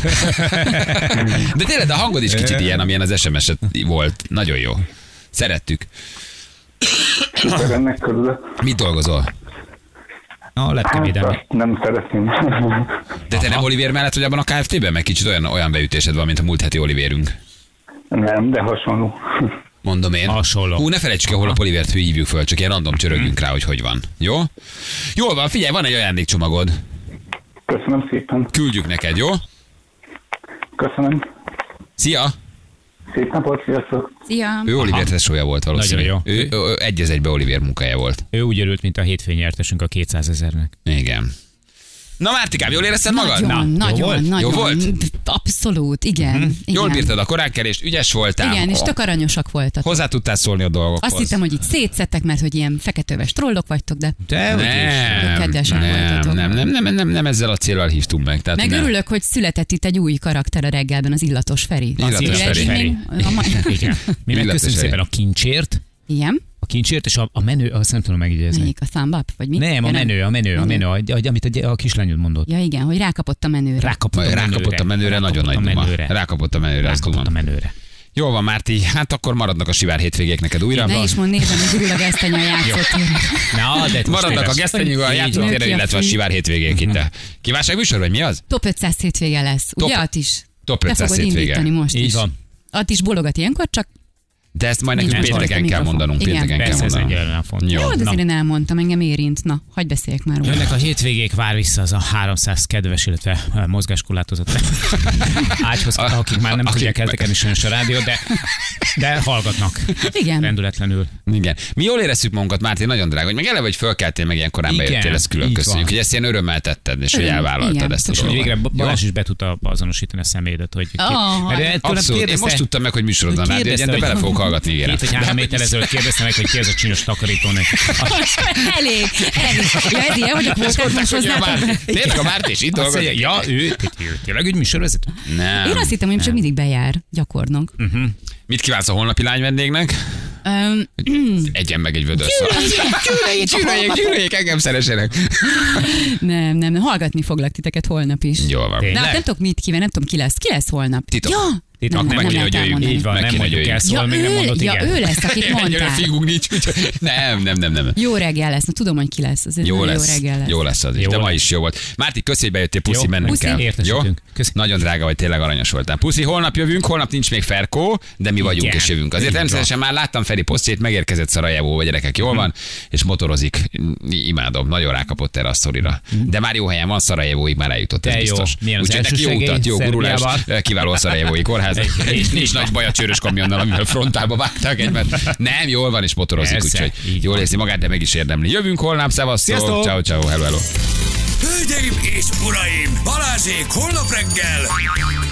A: De tényleg a hangod is kicsit ilyen, amilyen az SMS-et volt. Nagyon jó. Szerettük.
H: Super ennek körül.
A: Mit dolgozol?
D: A
H: Hát
D: lepkevédelmi.
H: azt nem szeretném.
A: De te nem Olivér mellett vagy abban a KFT-ben? Meg kicsit olyan, olyan beütésed van, mint a múlt heti Olivérünk.
H: nem, de hasonló.
A: Mondom én.
D: Hasonló.
A: Hú, ne felejtsük el, hol a Polivért hívjuk föl, csak ilyen random csörögjünk
H: Hm.
A: rá, hogy hogy van. Jó? Jól van, figyelj, van egy ajándékcsomagod.
H: Köszönöm szépen.
A: Küldjük neked, jó?
H: Köszönöm.
A: Szia!
H: Szép napot, sziasztok.
E: Szia.
A: Ő Olivér tesója volt valószínűleg.
D: Nagyon jó.
A: Ő, ő, ő egy az egybe Olivér munkája volt.
D: Ő úgy örült, mint a hétfőn nyertesünk a 200 ezernek.
A: Igen. Na Mártikám, jól érezted magad?
E: Nagyon,
A: Na.
E: nagyon,
A: Jó volt?
E: nagyon.
A: Jó volt? Mhm.
E: Absz- Abszolút, igen. Mm-hmm. igen.
A: Jól bírtad a koránkerést, ügyes voltál.
E: Igen, és tök aranyosak voltatok.
A: Hozzá tudtál szólni a dolgokhoz.
E: Azt hittem, hogy itt szétszettek, mert hogy ilyen feketöves trollok vagytok, de
D: De
E: Tök
A: nem,
E: kedvesek
A: nem,
E: voltatok.
A: nem, nem, nem, nem, nem, ezzel a célral hívtunk meg. Tehát
E: meg
A: nem.
E: örülök, hogy született itt egy új karakter a reggelben, az illatos Feri.
A: Az Illatos
E: Ugye,
A: Feri.
E: eddig még- a ma-
D: Igen. Mi
A: Illetes
D: megköszönjük
A: hely.
D: szépen a kincsért,
E: Igen?
D: a kincsért, és a, a menő, azt nem tudom megidézni.
E: Melyik a thumb up, vagy mi?
D: Nem, a
E: Ja,
D: menő, a menő, a menő, a- a- amit a gy- a kislányod mondott.
E: Ja igen, hogy rákapott a menőre.
D: Rákapott a
A: Rákapott a menőre, nagyon nagy duma. Rákapott a menőre, azt
D: Rákapott a
A: tudom.
D: menőre.
A: Jól van, Márti, hát akkor maradnak a sivár hétvégék neked újra.
E: Ne is mond, nézem, hogy gurul a gesztenye a játszótérre.
D: Na, de
A: Maradnak a gesztenyük a
E: Így van.
A: játszótérre,
E: Ki a
A: illetve a
E: fű?
A: sivár hétvégék itt. Kívánság műsor, vagy mi az?
E: Top 500 hétvége lesz,
A: Top-
E: ugye Atis?
A: Top
E: Te
A: 500
E: fogod
A: hétvége.
E: indítani most
D: Így
E: is.
D: van.
E: Attis bologat ilyenkor, csak
A: De ezt majd nekünk
E: Nincs most
A: pénteken
E: a
A: kell
E: mikrofon.
A: mondanunk.
E: Igen.
A: Pénteken kell
D: Persze, ez egy
A: mondanunk.
D: ellen fontos.
A: Jó.
E: jó, de
D: Na.
E: azért én elmondtam, engem érint. Na, hagyd beszéljek már róla.
D: Jönnek a hétvégék, vár vissza az a 300 kedves, illetve eh, mozgáskorlátozott ágyhoz, akik már nem
A: Akik-
D: tudják eltekerni sajnos a rádiót, de, de hallgatnak
E: Igen.
D: rendületlenül.
A: Igen. Mi jól érezzük magunkat, Márti, nagyon drága, hogy meg eleve, hogy fölkeltél, meg ilyen korán
D: Igen,
A: bejöttél, ezt külön
D: így
A: köszönjük,
D: van.
A: hogy ezt ilyen örömmel tetted, és hogy
E: Igen,
A: elvállaltad
E: igen.
A: ezt a
D: És hogy
A: dolgot.
D: végre
A: Jó?
D: Balázs is be tudta azonosítani a szemédet, hogy ki.
E: Ah,
D: Mert tőlem
A: Abszolút. Én
D: kérdezte-
A: most tudtam meg, hogy műsorodban
D: hogy
A: rádió, de
D: kérdezte, hogy-
A: bele fogok hallgatni, ígérem.
D: Két vagy három héttel ezelőtt kérdeztem meg, hogy ki ez a csinos takarítónő.
E: elég, elég. Ja, ez ilyen, hogy a kvótát most
A: Hogy a
E: hozzá.
A: Márti- Tényleg a Márti is itt
D: Azt mondja,
A: dolgozik?
D: ja, ő, ő tényleg egy műsorvezető.
A: Nem. Hm.
E: Én azt hittem, hogy csak mindig bejár gyakornok.
A: Mit kívánsz a holnapi lányvendégnek?
E: Öm,
A: Egyen meg egy vödör szar. Gyűlöljék, gyűlöljék, gyűlöljék, engem szeresenek.
E: nem, nem, nem, hallgatni foglak titeket holnap is.
A: Jól van.
E: Na,
D: Tényleg?
E: hát nem tudok mit kívánni, nem tudom, ki lesz, ki lesz holnap.
A: Titok.
E: Ja,
D: Titok.
E: nem,
A: meg
D: Akkor
E: nem, nem
A: kéne,
E: lehet
A: hogy jöjjünk.
E: elmondani.
D: Így van,
A: Meg
D: nem
A: kéne
D: mondjuk
A: jöjjünk.
D: el, szóval még
E: ő,
D: nem mondott
E: ja, ő
D: igen.
E: lesz, akit
A: Ennyire
E: mondtál.
A: figunk nincs, úgyhogy nem, nem, nem, nem.
E: Jó reggel lesz, na tudom, hogy ki lesz. Azért
A: Jó
E: nagyon
A: lesz.
E: Jó reggel lesz.
A: Jó lesz az is.
D: Jó
A: De ma
D: lesz.
A: is jó volt. Márti, köszi, hogy bejöttél, puszi,
D: Jó.
A: mennünk
E: Puszi.
A: kell. Jó?
D: Értesültünk. Köszi.
A: Nagyon drága vagy, tényleg aranyos voltál. Puszi, holnap jövünk, holnap nincs még Ferkó, de mi vagyunk
D: Igen.
A: és jövünk. Azért
D: Így van. Mhm.
A: természetesen már láttam Feri posztjét, megérkezett Szarajevó, vagy gyerekek, jól van, és motorozik. Imádom, nagyon rákapott erre a szorira. De már jó helyen van, Szarajevóig már eljutott, ez
D: Mhm. De jó.
A: biztos.
D: Milyen az
A: Úgyhogy neki jó
D: elsősegély
A: utat, jó gurulás,
D: Szerbiában?
A: kiváló a Szarajevói kórház.
D: Egy-
A: És nincs nagy baj a csőrös kamionnal, amivel frontába vágták egymást. Nem, jól van, és motorozik,
D: Persze,
A: úgyhogy
D: így
A: jól érzi magát, de meg is érdemli. Jövünk holnap, szevasztok! Ciao, ciao, hello, hello.
B: Hölgyeim és uraim, Balázsék holnap reggel!